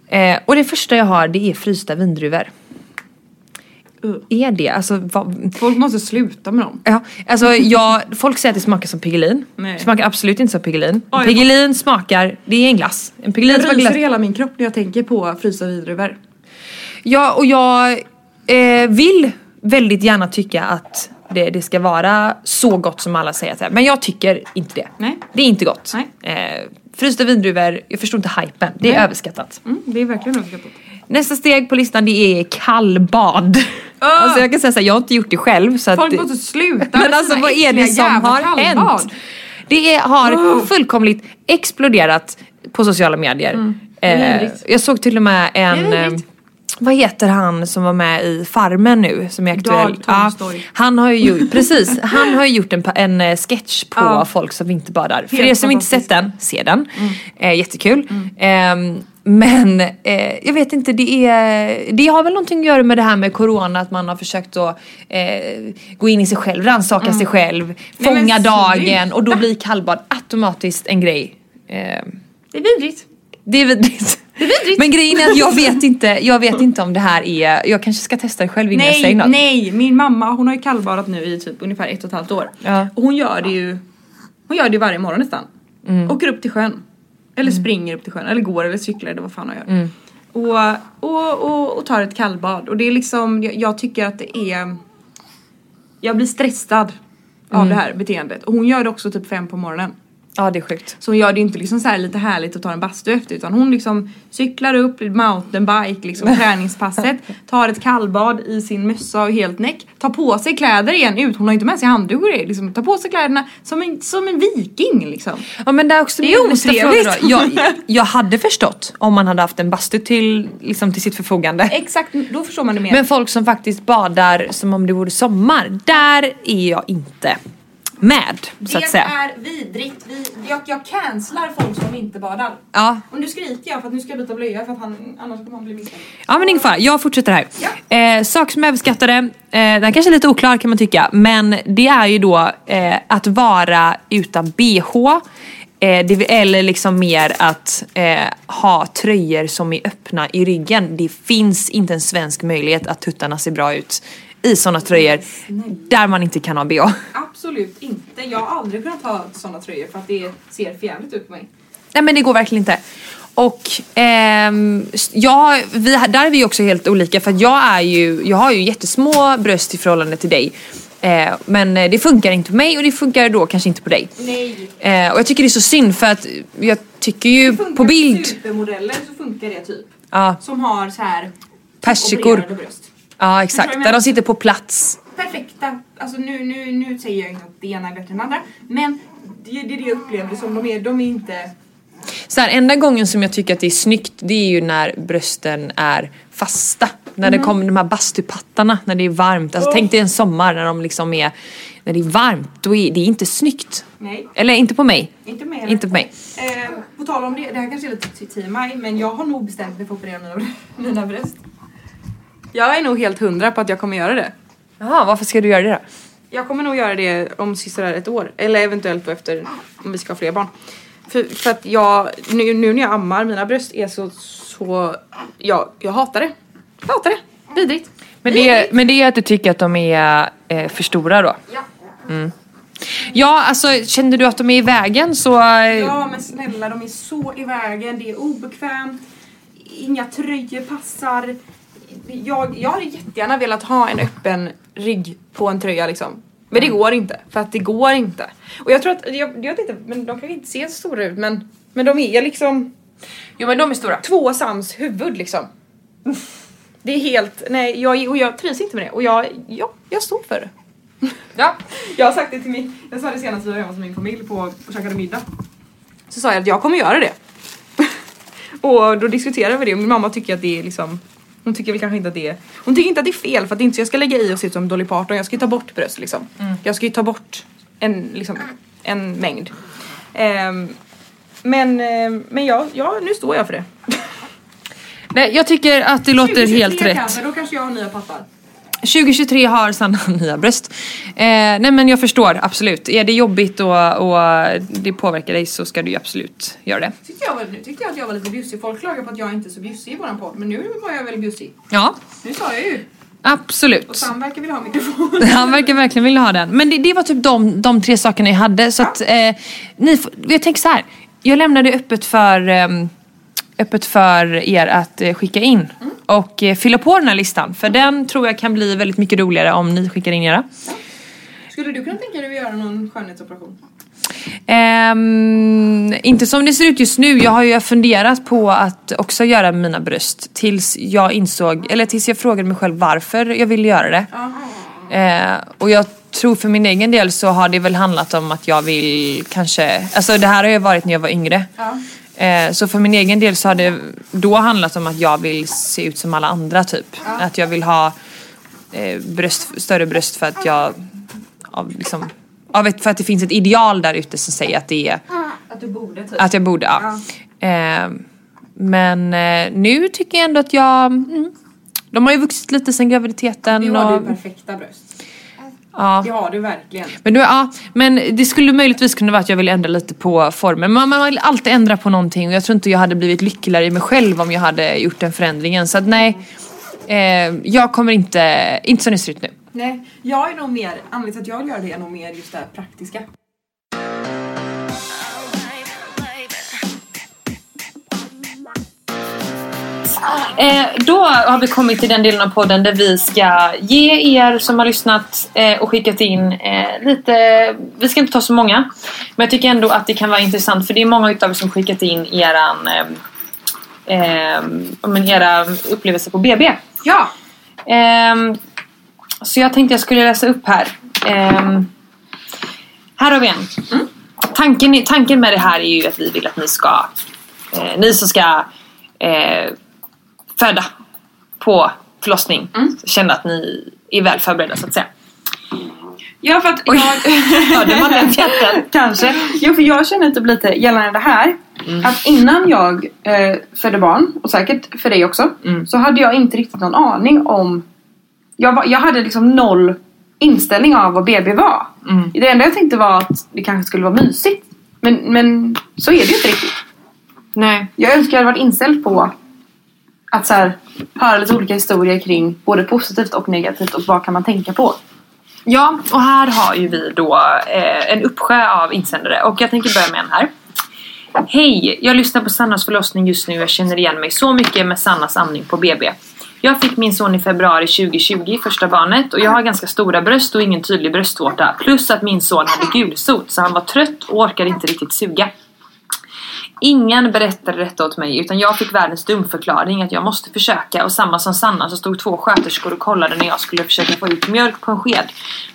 Speaker 3: Eh, och det första jag har det är frysta vindruvor.
Speaker 1: Uh.
Speaker 3: Är det? Alltså vad,
Speaker 1: folk måste sluta med dem.
Speaker 3: Ja, alltså jag, folk säger att det smakar som Piggelin.
Speaker 1: Nej.
Speaker 3: Smakar absolut inte som Piggelin.
Speaker 1: Oj.
Speaker 3: Piggelin smakar, det är en glass. En Piggelin
Speaker 1: Jag
Speaker 3: smakar
Speaker 1: ryser i
Speaker 3: glass.
Speaker 1: hela min kropp när jag tänker på frysta vindruvor.
Speaker 3: Ja, och jag eh, vill väldigt gärna tycka att det, det ska vara så gott som alla säger att det är. Men jag tycker inte det.
Speaker 1: Nej.
Speaker 3: Det är inte gott.
Speaker 1: Nej.
Speaker 3: Eh, frysta vindruvor, jag förstår inte hypen. Det är
Speaker 1: Nej.
Speaker 3: överskattat.
Speaker 1: Mm, det är verkligen överskattat.
Speaker 3: Nästa steg på listan det är kallbad.
Speaker 1: Ah!
Speaker 3: Alltså jag kan säga såhär, jag har inte gjort det själv. Så att,
Speaker 1: Folk måste sluta
Speaker 3: Men
Speaker 1: med
Speaker 3: alltså
Speaker 1: sina
Speaker 3: vad är det
Speaker 1: äckliga
Speaker 3: som
Speaker 1: jävla
Speaker 3: har
Speaker 1: kallbad.
Speaker 3: hänt? Det är, har
Speaker 1: Oh.
Speaker 3: fullkomligt exploderat på sociala medier.
Speaker 1: Mm. Det är
Speaker 3: Eh,
Speaker 1: vidrigt.
Speaker 3: jag såg till och med en...
Speaker 1: Det är
Speaker 3: eh,
Speaker 1: vidrigt.
Speaker 3: Vad heter han som var med i Farmen nu som är aktuell?
Speaker 1: Dag Tolstoj.
Speaker 3: han har ju gjort, precis, han har ju gjort en, pa- en eh, sketch på
Speaker 1: Ja.
Speaker 3: folk som inte badar. För
Speaker 1: Helt Mm.
Speaker 3: er som inte sett den, se den. Eh, jättekul. Ehm, men eh, jag vet inte, det, är, det har väl någonting att göra med det här med corona att man har försökt att eh, gå in i sig själv, rannsaka sig själv,
Speaker 1: Mm. men
Speaker 3: fånga dagen
Speaker 1: sluta.
Speaker 3: och då blir kallbad automatiskt en grej. Ehm,
Speaker 1: Det är vidrigt.
Speaker 3: det är vidrigt.
Speaker 1: Det är vidrigt.
Speaker 3: Men grejen är att jag vet inte, jag vet inte om det här är, jag kanske ska testa det själv innan jag
Speaker 1: Nej,
Speaker 3: säger något.
Speaker 1: nej, min mamma hon har ju kallbadat nu i typ ungefär ett och ett halvt år.
Speaker 3: Ja.
Speaker 1: Och hon gör det ju hon gör det ju varje morgon nästan.
Speaker 3: Mm.
Speaker 1: Åker upp till sjön. Eller springer upp till sjön, eller går eller cyklar eller vad fan hon gör.
Speaker 3: Mm.
Speaker 1: Och, och, och, och tar ett kallbad. Och det är liksom, jag, jag tycker att det är Jag blir stressad
Speaker 3: Mm.
Speaker 1: av det här beteendet. Och hon gör det också typ fem på morgonen.
Speaker 3: Ja det är sjukt.
Speaker 1: Så hon gör det ju inte liksom så här lite härligt att ta en bastu efter utan hon liksom cyklar upp mountainbike, liksom träningspasset, tar ett kallbad i sin mössa och helt näck, tar på sig kläder igen ut, hon har ju inte med sig handduk och grejer, liksom, tar på sig kläderna som en, som en viking liksom.
Speaker 3: Ja men det är också
Speaker 1: Det är
Speaker 3: min nästa
Speaker 1: otrevligt.
Speaker 3: fråga då. Jag, jag hade förstått om man hade haft en bastu till, liksom, till sitt förfogande.
Speaker 1: Exakt, då förstår man det mer.
Speaker 3: Men folk som faktiskt badar som om det vore sommar, där är jag inte. med så att
Speaker 1: Det
Speaker 3: säga.
Speaker 1: är vidrigt. Vi, jag, jag cancelar folk som inte badar.
Speaker 3: Ja,
Speaker 1: Och nu skriker jag för att nu ska jag byta blöja för att han, annars kommer han bli misstänkt.
Speaker 3: Ja men ingen fara, jag fortsätter här. Eh, sak som jag överskattade, eh, den kanske är lite oklar kan man tycka, men det är ju då eh, att vara utan bh. Eh, det, eller liksom mer att eh, ha tröjor som är öppna i ryggen. Det finns inte en svensk möjlighet att tuttarna ser bra ut i sådana tröjor där man inte kan ha bh.
Speaker 1: Absolut inte. Jag har aldrig kunnat ha sådana tröjor för att det ser förjävligt ut på mig.
Speaker 3: Nej men det går verkligen inte. Och ehm, jag, vi, där är vi också helt olika för att jag, är ju, jag har ju jättesmå bröst i förhållande till dig. Eh, men eh, det funkar inte på mig och det funkar då kanske inte på dig.
Speaker 1: Nej.
Speaker 3: Eh, och jag tycker det är så synd för att jag tycker ju på bild...
Speaker 1: supermodeller så funkar det typ.
Speaker 3: Ja,
Speaker 1: Som har så här
Speaker 3: persikor.
Speaker 1: opererade bröst.
Speaker 3: Ja exakt, där de sitter på plats.
Speaker 1: perfekta, alltså nu, nu, nu säger jag inte att det ena är bättre än det andra, men det är det jag upplevde som de är, de är inte...
Speaker 3: Så här, enda gången som jag tycker att det är snyggt det är ju när brösten är fasta. När
Speaker 1: Mm.
Speaker 3: det kommer de här bastupattarna, när det är varmt. Alltså, Tänk dig en sommar när de liksom är, när det är varmt. Då är det är inte snyggt.
Speaker 1: Nej,
Speaker 3: Eller inte på mig.
Speaker 1: inte mer.
Speaker 3: Inte på mig.
Speaker 1: Eh, på tal om det, det här kanske är lite till- till mig, men jag har nog bestämt mig för att operera mina, br- mina bröst. Jag är nog helt hundra på att jag kommer göra det.
Speaker 3: Jaha, varför ska du göra det då?
Speaker 1: Jag kommer nog göra det om sista ett år, eller eventuellt då efter om vi ska ha fler barn. För, för att jag, nu, nu när jag ammar, mina bröst är så, så, jag, jag hatar det. Jag hatar det, vidrigt.
Speaker 3: Men det, men det är att du tycker att de är eh, för stora då?
Speaker 1: Ja.
Speaker 3: Ja, alltså kände du att de är i vägen så... eh,
Speaker 1: Ja men snälla de är så i vägen, det är obekvämt, inga tröjor passar. Jag, jag hade jättegärna velat ha en öppen rygg på en tröja liksom. Men det går inte, för att det går inte. Och jag tror att, jag, jag vet inte, men de kan inte se så stora ut men, men de är liksom
Speaker 3: Jo men de är stora.
Speaker 1: två sams huvud liksom. Det är helt, nej jag, och jag trivs inte med det och jag, ja, jag står för det.
Speaker 3: Ja.
Speaker 1: Jag har sagt det till min, jag sa det senast vi var hemma hos min familj på och käkade middag. Så sa jag att jag kommer göra det. och då diskuterade vi det och min mamma tycker att det är liksom hon tycker väl kanske inte att det är, hon tycker inte att det är fel för att det är inte så jag ska lägga i och se ut som Dolly Parton, jag ska ju ta bort bröst liksom.
Speaker 3: Mm.
Speaker 1: Jag ska ju ta bort en, liksom, en mängd. Ehm, men ehm, men ja, ja, nu står jag för det.
Speaker 3: Nej, jag tycker att det låter
Speaker 1: 2023
Speaker 3: helt rätt.
Speaker 1: Kanske, då kanske jag har nya pappar.
Speaker 3: 2023 har Sanna nya bröst. Eh, nej men jag förstår absolut. Är det jobbigt och, och det påverkar dig så ska du ju absolut göra det.
Speaker 1: Tyckte jag, var- nu tyckte jag att jag var lite bjussig, folk klagar på att jag inte är så bjussig i våran podd men nu var jag väl bjussig.
Speaker 3: Ja,
Speaker 1: Nu sa jag ju. Och
Speaker 3: absolut.
Speaker 1: Sam verkar vilja ha mikrofon.
Speaker 3: Han verkar verkligen vilja ha den. Men det, det var typ de, de tre sakerna jag hade. Så att, eh, ni, får- jag tänker så här. Jag lämnade öppet för, ehm, öppet för er att eh, skicka in och eh, fylla på den här listan. För den tror jag kan bli väldigt mycket roligare om ni skickar in era.
Speaker 1: Skulle du kunna tänka dig att göra någon skönhetsoperation?
Speaker 3: Ehm, inte som det ser ut just nu. Jag har ju funderat på att också göra mina bröst tills jag insåg, eller tills jag frågade mig själv varför jag ville göra det. Eh, och jag tror för min egen del så har det väl handlat om att jag vill kanske, alltså det här har ju varit när jag var yngre.
Speaker 1: Ja.
Speaker 3: Eh, så för min egen del så har det då handlat om att jag vill se ut som alla andra typ. Att jag vill ha eh, bröst, större bröst för att jag av, liksom, av ett, för att det finns ett ideal där ute som säger att det är
Speaker 1: Att du borde typ.
Speaker 3: att jag borde, ja. Eh, men eh, nu tycker jag ändå att jag mm, de har ju vuxit lite sen graviditeten
Speaker 1: Du har
Speaker 3: och,
Speaker 1: du perfekta bröst.
Speaker 3: ja.
Speaker 1: Det har du verkligen.
Speaker 3: Men, du, ja, men det skulle möjligtvis kunna vara att jag ville ändra lite på formen. Men man vill alltid ändra på någonting och jag tror inte jag hade blivit lyckligare i mig själv om jag hade gjort den förändringen. Så att nej, eh, jag kommer inte, inte som det ser ut nu.
Speaker 1: Nej, jag är nog mer, anledningen till att jag vill göra det är nog mer just det här praktiska.
Speaker 3: Eh, då har vi kommit till den delen av podden där vi ska ge er som har lyssnat eh, och skickat in eh, lite, vi ska inte ta så många, men jag tycker ändå att det kan vara intressant för det är många utav er som skickat in eran, eh, eh, ja, men era upplevelser på BB.
Speaker 1: Ja!
Speaker 3: Ehm, så jag tänkte jag skulle läsa upp här. Ehm, här har vi en. Tanken, tanken med det här är ju att vi vill att ni ska, eh, ni som ska eh, föda på förlossning, känna att ni är väl förberedda så att säga.
Speaker 1: Ja för att
Speaker 3: Oj,
Speaker 1: jag...
Speaker 3: hörde man den katten?
Speaker 1: Kanske. Jo, för jag känner typ lite gällande det här. Att innan jag eh, födde barn, och säkert för dig också,
Speaker 3: Mm.
Speaker 1: så hade jag inte riktigt någon aning om... Jag, var, jag hade liksom noll inställning av vad BB var.
Speaker 3: Mm.
Speaker 1: Det enda jag tänkte var att det kanske skulle vara mysigt. Men, men så är det ju inte riktigt.
Speaker 3: Nej.
Speaker 1: Jag önskar jag hade varit inställd på att så här, höra lite olika historier kring både positivt och negativt och vad kan man tänka på.
Speaker 3: Ja, och här har ju vi då eh, en uppsjö av insändare och jag tänker börja med en här. Hej! Jag lyssnar på Sannas förlossning just nu och jag känner igen mig så mycket med Sannas amning på BB. Jag fick min son i februari 2020, första barnet, och jag har ganska stora bröst och ingen tydlig bröstvårta. Plus att min son hade gulsot, så han var trött och orkade inte riktigt suga. Ingen berättade detta åt mig utan jag fick världens dumförklaring att jag måste försöka och samma som Sanna så stod två sköterskor och kollade när jag skulle försöka få ut mjölk på en sked.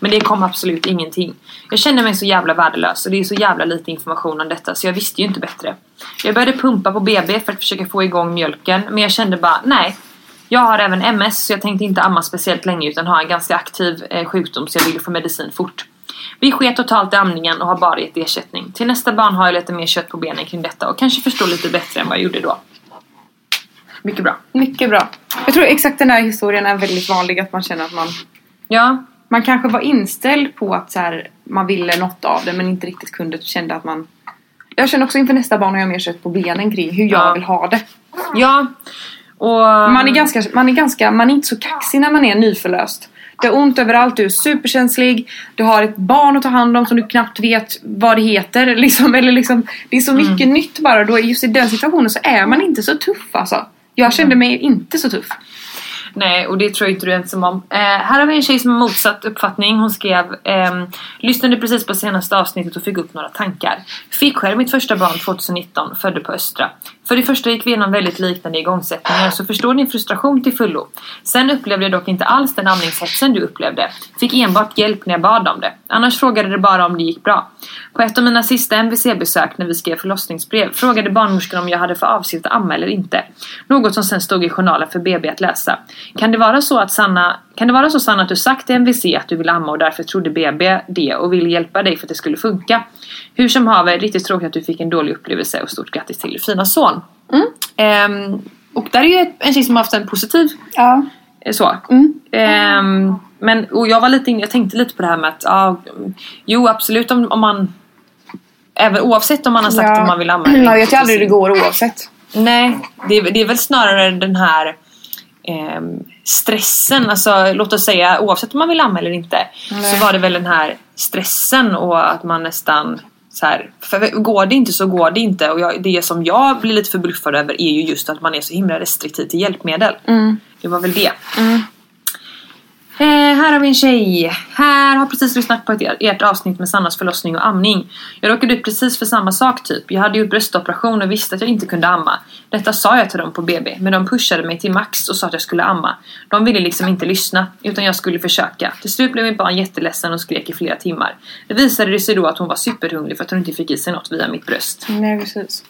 Speaker 3: Men det kom absolut ingenting. Jag kände mig så jävla värdelös och det är så jävla lite information om detta så jag visste ju inte bättre. Jag började pumpa på BB för att försöka få igång mjölken men jag kände bara nej. Jag har även MS så jag tänkte inte amma speciellt länge utan ha en ganska aktiv eh, sjukdom så jag ville få medicin fort. Vi sket totalt i amningen och har bara gett ersättning. Till nästa barn har jag lite mer kött på benen kring detta och kanske förstår lite bättre än vad jag gjorde då. Mycket bra.
Speaker 1: Mycket bra. Jag tror exakt den här historien är väldigt vanlig att man känner att man
Speaker 3: Ja,
Speaker 1: man kanske var inställd på att så här, man ville något av det men inte riktigt kunde kände att man jag känner också inför nästa barn har jag mer kött på benen kring hur jag
Speaker 3: Ja. Mm.
Speaker 1: vill ha det.
Speaker 3: ja. Och...
Speaker 1: Man är, ganska, man, är ganska, man är inte så kaxig när man är nyförlöst. Du har ont överallt, du är superkänslig. Du har ett barn att ta hand om som du knappt vet vad det heter. Liksom, eller liksom, det är så mycket
Speaker 3: Mm.
Speaker 1: nytt bara. Då, är- just i den situationen så är man inte så tuff alltså.
Speaker 3: Mm.
Speaker 1: Jag kände mig inte så tuff.
Speaker 3: Nej, och det tror jag inte du är ensam om. Eh, här har vi en tjej som har motsatt uppfattning. Hon skrev ehm, Lyssnade precis på senaste avsnittet och fick upp några tankar. Fick själv mitt första barn 2019, födde på Östra. För det första gick vi igenom väldigt liknande igångsättningar så förstår din frustration till fullo. Sen upplevde jag dock inte alls den amningshetsen du upplevde. Fick enbart hjälp när jag bad om det. Annars frågade det bara om det gick bra. På ett av mina sista MVC-besök när vi skrev förlossningsbrev frågade barnmorskan om jag hade för avsikt att amma eller inte. Något som sen stod i journalen för BB att läsa. Kan det vara så att Sanna, kan det vara så Sanna att du sagt till MVC att du vill amma och därför trodde BB det och ville hjälpa dig för att det skulle funka? Hur som haver, riktigt tråkigt att du fick en dålig upplevelse och stort grattis till din fina son. Mm. Ehm, och där är ju ett- en tjej som har haft en positiv
Speaker 1: Ja.
Speaker 3: Eh, Så.
Speaker 1: Mm.
Speaker 3: Ehm, men, och jag, var lite in, jag tänkte lite på det här med att ja, jo absolut om, om man även, oavsett om man har sagt om man vill amma eller
Speaker 1: Man
Speaker 3: inte,
Speaker 1: vet ju
Speaker 3: så-
Speaker 1: aldrig hur det går oavsett.
Speaker 3: Nej, det är, det är väl snarare den här ehm, stressen. Alltså, låt oss säga oavsett om man vill amma eller inte så var det väl den här stressen och att man nästan så här, för går det inte så går det inte och jag, det som jag blir lite förbluffad över är ju just att man är så himla restriktiv till hjälpmedel.
Speaker 1: Mm.
Speaker 3: Det var väl det. Eh, här har vi en tjej. Här har precis lyssnat på ett, ert avsnitt med Sannas förlossning och amning. Jag råkade ut precis för samma sak typ. Jag hade gjort bröstoperation och visste att jag inte kunde amma. Detta sa jag till dem på BB, men de pushade mig till max och sa att jag skulle amma. De ville liksom inte lyssna, utan jag skulle försöka. Till slut blev mitt barn jätteledsen och skrek i flera timmar. Det visade det sig då att hon var superhungrig för att hon inte fick i sig något via mitt bröst.
Speaker 1: Nej precis.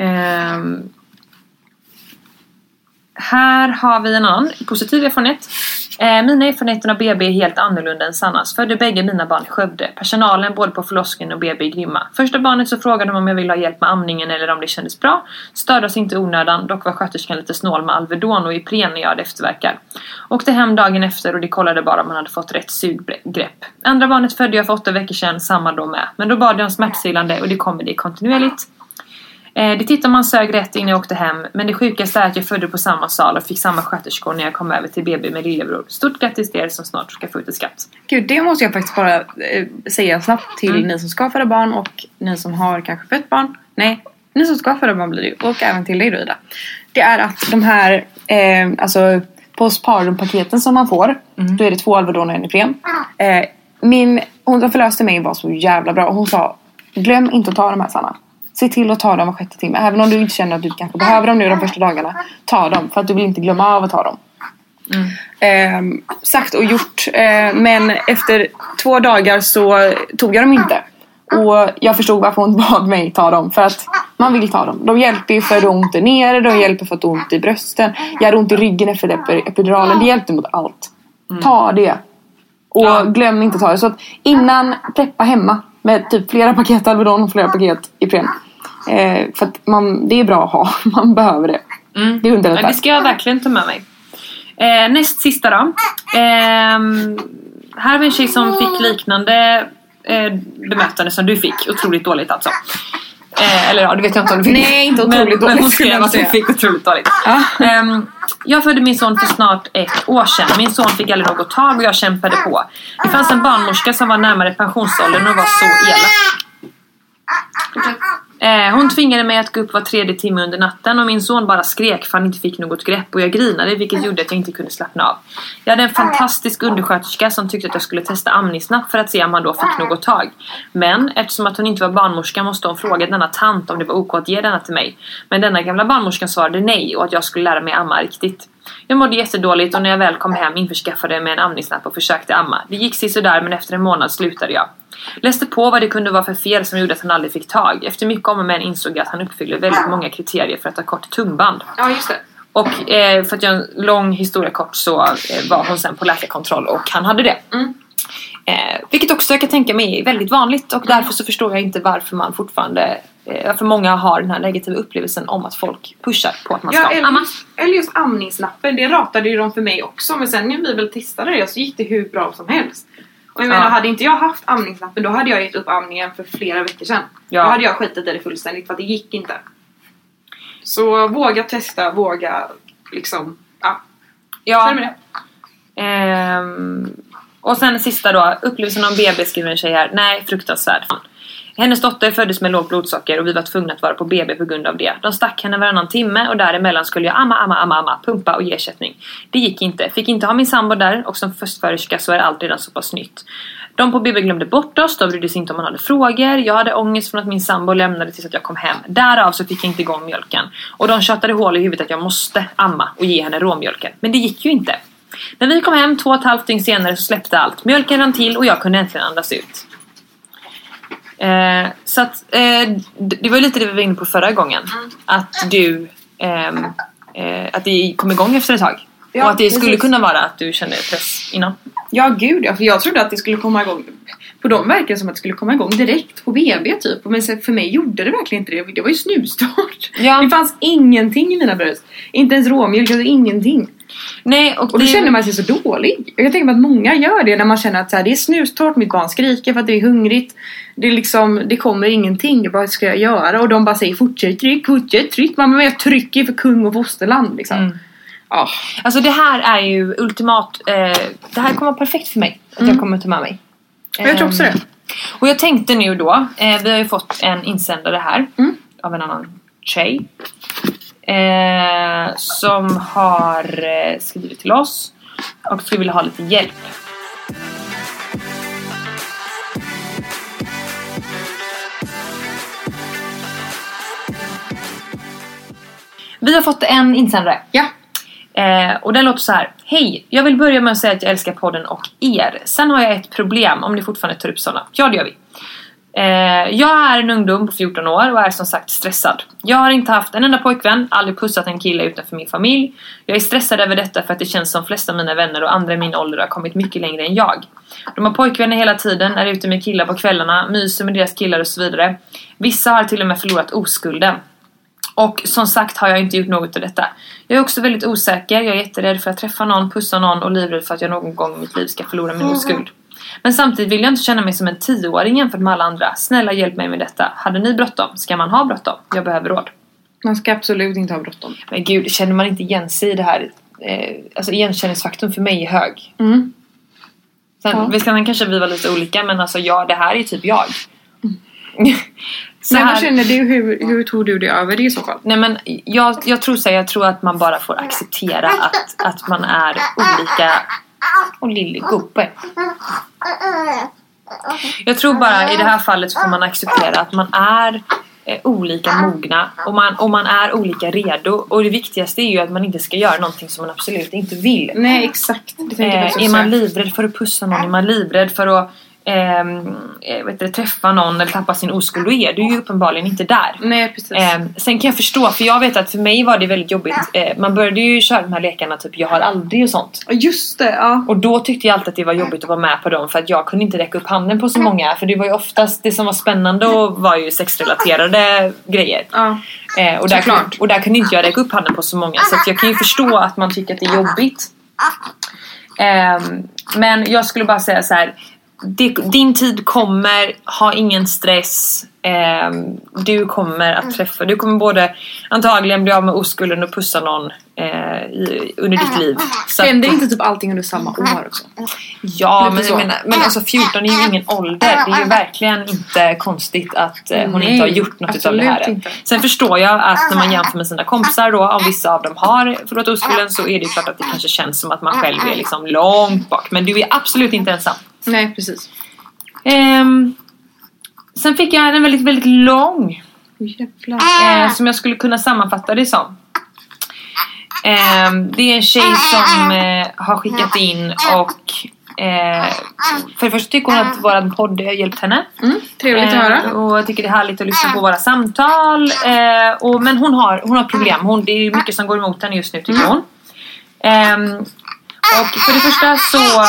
Speaker 3: Ehm, här har vi en annan positiv erfarenhet. Eh, mina erfarenheter av BB är helt annorlunda än Sannas. Födde bägge mina barn i Skövde. Personalen både på förlossningen och BB är grymma. Första barnet så frågade de om jag ville ha hjälp med amningen eller om det kändes bra. Störde oss inte i onödan, dock var sköterskan lite snål med Alvedon och Ipren när jag hade eftervärkar. Åkte hem dagen efter och de kollade bara om han hade fått rätt suggrepp. Andra barnet födde jag för åtta veckor sedan, samma då med. Men då bad jag om smärtstillande och det kommer det kontinuerligt. Eh, Det tittade man sög rätt innan jag åkte hem men det sjukaste är att jag födde på samma sal och fick samma sköterskor när jag kom över till BB med lillebror. Stort grattis till er som snart ska få ut ett skatt.
Speaker 1: Gud, det måste jag faktiskt bara eh, säga snabbt till ni som ska föda barn och ni som har kanske fött barn. Nej, ni som ska föda barn blir det ju, och även till dig då Ida. Det är att de här eh, alltså postpartum-paketen som man får, då är det två Alvedon och en Ipren. Eh, min, hon som förlöste mig var så jävla bra och hon sa glöm inte att ta de här Sanna. Se till att ta dem var sjätte timme. Även om du inte känner att du kanske behöver dem nu de första dagarna. Ta dem för att du vill inte glömma av att ta dem. Ehm, sagt och gjort. Eh, men efter två dagar så tog jag dem inte. Och jag förstod varför hon bad mig ta dem. För att man vill ta dem. De hjälper ju för att du har ont där nere, de hjälper för att du har ont i brösten. Jag hade ont i ryggen efter epi- epiduralen. Det hjälpte mot allt. Ta det. Och glöm inte att ta det. Så att innan, preppa hemma med typ flera paket Alvedon och flera paket Ipren. Eh, för att man, det är bra att ha. Man behöver det.
Speaker 3: Mm.
Speaker 1: Det underlättar.
Speaker 3: Ja, det ska jag verkligen ta med mig. Eh, näst sista då. Ehm, här var en tjej som fick liknande eh, bemötande som du fick. Otroligt dåligt alltså. Eh, eller ja, det vet jag inte om du fick.
Speaker 1: Nej, inte otroligt
Speaker 3: men,
Speaker 1: dåligt,
Speaker 3: Men hon
Speaker 1: skulle jag
Speaker 3: skrev att hon
Speaker 1: säga. Ah.
Speaker 3: fick otroligt dåligt. Ehm, jag födde min son för snart ett år sedan. Min son fick aldrig något tag och jag kämpade på. Det fanns en barnmorska som var närmare pensionsåldern och var så elak. Eh, hon tvingade mig att gå upp var tredje timme under natten och min son bara skrek för han inte fick något grepp och jag grinade vilket gjorde att jag inte kunde slappna av. Jag hade en fantastisk undersköterska som tyckte att jag skulle testa amningsnapp för att se om han då fick något tag. Men eftersom att hon inte var barnmorska måste hon fråga denna tant om det var ok att ge denna till mig. Men denna gamla barnmorskan svarade nej och att jag skulle lära mig amma riktigt. Jag mådde jättedåligt och när jag väl kom hem införskaffade jag mig en amningsnapp och försökte amma. Det gick sisådär men efter en månad slutade jag. Läste på vad det kunde vara för fel som gjorde att han aldrig fick tag. Efter mycket om och men insåg jag att han uppfyllde väldigt många kriterier för att ha kort tungband.
Speaker 1: Ja, just det.
Speaker 3: Och eh, för att göra en lång historia kort så eh, var hon sen på läkarkontroll och han hade det.
Speaker 4: Mm.
Speaker 3: Eh, vilket också jag kan tänka mig är väldigt vanligt och därför så förstår jag inte varför man fortfarande eh, varför många har den här negativa upplevelsen om att folk pushar på att man
Speaker 4: Ja,
Speaker 3: ska
Speaker 4: eller,
Speaker 3: amma.
Speaker 4: eller just amningsnappen, det ratade ju de för mig också men sen när vi väl testade det så gick det hur bra som helst. Och jag
Speaker 3: Ja.
Speaker 4: menar, hade inte jag haft amningsnappen då hade jag gett upp amningen för flera veckor sedan.
Speaker 3: Ja.
Speaker 4: Då hade jag skitit i det fullständigt för att det gick inte. Så våga testa, våga liksom, ja. Så
Speaker 3: Ja.
Speaker 4: är det med det.
Speaker 3: Ehm, och sen sista då. Upplevelsen om BB skriver en tjej här. Nej, fruktansvärd. Hennes dotter föddes med lågt blodsocker och vi var tvungna att vara på BB på grund av det. De stack henne varannan timme och däremellan skulle jag amma, amma, amma, amma, pumpa och ge ersättning. Det gick inte. Fick inte ha min sambo där och som förstföderska så är allt redan så pass nytt. De på BB glömde bort oss, de brydde sig inte om man hade frågor. Jag hade ångest från att min sambo lämnade tills att jag kom hem. Därav så fick jag inte igång mjölken. Och de tjatade hål i huvudet att jag måste amma och ge henne råmjölken. Men det gick ju inte. När vi kom hem två och ett halvt dygn senare så släppte allt. Mjölken rann till och jag kunde äntligen andas ut. Eh, så att, eh, d- det var ju lite det vi var inne på förra gången.
Speaker 4: Mm.
Speaker 3: Att du... ehm, eh, att det kom igång efter ett tag.
Speaker 4: Ja,
Speaker 3: och att det skulle
Speaker 4: precis.
Speaker 3: kunna vara att du kände press innan.
Speaker 4: Ja gud ja, för jag trodde att det skulle komma igång. På dem verkar det som att det skulle komma igång direkt på BB typ. Men sen för mig gjorde det verkligen inte det. Det var ju snustart.
Speaker 3: Ja.
Speaker 4: Det fanns ingenting i mina bröst. Inte ens råmjölk, alltså ingenting.
Speaker 3: Nej, och,
Speaker 4: Och då
Speaker 3: det,
Speaker 4: känner man sig så dålig. Jag kan tänka mig att många gör det när man känner att så här, det är snustort, mitt barn skriker för att det är hungrigt. Det, är liksom, det kommer ingenting, vad ska jag göra? Och de bara säger fortsätt tryck, fortsätt tryck. Mamma men jag trycker för kung och fosterland liksom.
Speaker 3: Mm.
Speaker 4: Ja.
Speaker 3: Alltså det här är ju ultimat... Eh, det här kommer vara perfekt för mig. Att jag kommer ta med mig.
Speaker 4: Men Mm. jag tror också
Speaker 3: Ehm,
Speaker 4: det.
Speaker 3: Och jag tänkte nu då, eh, vi har ju fått en insändare här
Speaker 4: Mm.
Speaker 3: av en annan tjej. Eh, som har eh, skrivit till oss och skulle vilja ha lite hjälp. Vi har fått en insändare.
Speaker 4: Ja.
Speaker 3: Eh, och den låter så här. Hej! Jag vill börja med att säga att jag älskar podden och er. Sen har jag ett problem om ni fortfarande tar upp sådana. Ja, det gör vi. Eh, jag är en ungdom på 14 år och är som sagt stressad. Jag har inte haft en enda pojkvän, aldrig pussat en kille utanför min familj. Jag är stressad över detta för att det känns som flesta av mina vänner och andra i min ålder har kommit mycket längre än jag. De har pojkvänner hela tiden, är ute med killar på kvällarna, myser med deras killar och så vidare. Vissa har till och med förlorat oskulden. Och som sagt har jag inte gjort något av detta. Jag är också väldigt osäker, jag är jätterädd för att träffa någon, pussa någon och livrädd för att jag någon gång i mitt liv ska förlora
Speaker 4: Mm.
Speaker 3: min oskuld. Men samtidigt vill jag inte känna mig som en tioåring jämfört med alla andra. Snälla hjälp mig med detta. Hade ni bråttom? Ska man ha bråttom? Jag behöver råd.
Speaker 4: Man ska absolut inte ha bråttom.
Speaker 3: Men gud, känner man inte igen sig i det här? Eh, alltså igenkänningsfaktorn för mig är hög.
Speaker 4: Mm.
Speaker 3: Sen,
Speaker 4: Ja.
Speaker 3: visst, sen kanske vi var lite olika men alltså ja, det här är typ jag. Så
Speaker 4: Mm. Men
Speaker 3: här-
Speaker 4: vad känner du? Hur, hur tog du det över det i så fall?
Speaker 3: Nej men jag, jag tror så här, jag tror att man bara får acceptera att, att man är olika. Och lille gubbe. Jag tror bara i det här fallet så får man acceptera att man är eh, olika mogna och man, och man är olika redo. Och det viktigaste är ju att man inte ska göra någonting som man absolut inte vill.
Speaker 4: Nej exakt. Det tänkte Mm,
Speaker 3: Eh,
Speaker 4: jag faktiskt
Speaker 3: är
Speaker 4: också.
Speaker 3: man livrädd för att pussa någon? Är man livrädd för att ehm, eh, vet du, träffa någon eller tappa sin oskuld, då är du ju uppenbarligen inte där.
Speaker 4: Nej precis.
Speaker 3: Ehm, sen kan jag förstå, för jag vet att för mig var det väldigt jobbigt. Eh, man började ju köra de här lekarna typ jag har aldrig och sånt.
Speaker 4: Just det, ja.
Speaker 3: Och då tyckte jag alltid att det var jobbigt att vara med på dem för att jag kunde inte räcka upp handen på så många. För det var ju oftast det som var spännande och var ju sexrelaterade grejer.
Speaker 4: ja.
Speaker 3: Eh, och, där,
Speaker 4: Såklart.
Speaker 3: kunde- och där kunde inte jag räcka upp handen på så många. Så att jag kan ju förstå att man tycker att det är jobbigt. Ehm, men jag skulle bara säga så här. di- Din tid kommer, ha ingen stress. Ehm, du kommer att träffa, du kommer både antagligen bli av med oskulden och pussa någon eh, i, under ditt liv. Så att-
Speaker 4: Händer inte typ allting under samma år också?
Speaker 3: Ja,
Speaker 4: Lite
Speaker 3: men,
Speaker 4: så. Äh,
Speaker 3: jag menar, men alltså 14 är ju ingen ålder. Det är ju verkligen inte konstigt att eh, hon
Speaker 4: Nej,
Speaker 3: inte har gjort något utav det
Speaker 4: absolut
Speaker 3: här.
Speaker 4: inte. Äh,
Speaker 3: Sen förstår jag att när man jämför med sina kompisar då, om vissa av dem har förlåt oskulden så är det ju klart
Speaker 4: Äh,
Speaker 3: att det kanske känns som att man själv är liksom långt bak. Men du är absolut inte ensam.
Speaker 4: Nej precis.
Speaker 3: Ehm, sen fick jag en väldigt, väldigt lång
Speaker 4: Jävlar.
Speaker 3: eh, som jag skulle kunna sammanfatta det som. Ehm, det är en tjej som eh, har skickat in och eh, för det första tycker hon att vår podd har hjälpt henne.
Speaker 4: Mm, trevligt att
Speaker 3: Eh,
Speaker 4: höra.
Speaker 3: och jag tycker det är härligt att lyssna på våra samtal. Eh, och, men hon har, hon har problem. Hon, det är mycket som går emot henne just nu tycker hon. Ehm, och för det första så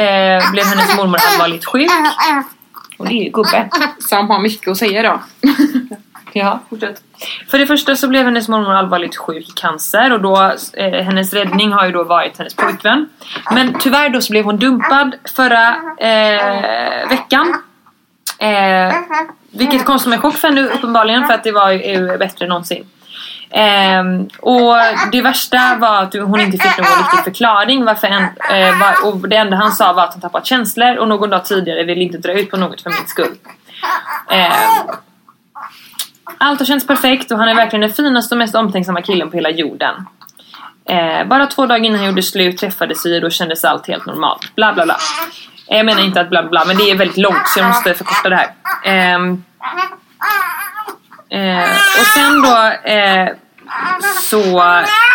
Speaker 3: eh, blev hennes mormor allvarligt sjuk. Hon är ju gubbe.
Speaker 4: Sam har mycket att säga då.
Speaker 3: Ja, fortsätt. För det första så blev hennes mormor allvarligt sjuk i cancer och då, eh, hennes räddning har ju då varit hennes pojkvän. Men tyvärr då så blev hon dumpad förra eh, veckan. Eh, vilket kom som en chock för henne uppenbarligen för att det var ju bättre än någonsin. Ehm, och det värsta var att hon inte fick någon riktig förklaring varför en, eh, var, och det enda han sa var att han tappat känslor och någon dag tidigare ville inte dra ut på något för min skull. Ehm, allt har känts perfekt och han är verkligen den finaste och mest omtänksamma killen på hela jorden. Eh, bara två dagar innan han gjorde slut träffades vi och då kändes allt helt normalt. Bla bla bla. Eh, Jag menar inte att bla bla, bla men det är väldigt långt så jag måste förkorta det här. Ehm, eh, och sen då eh, så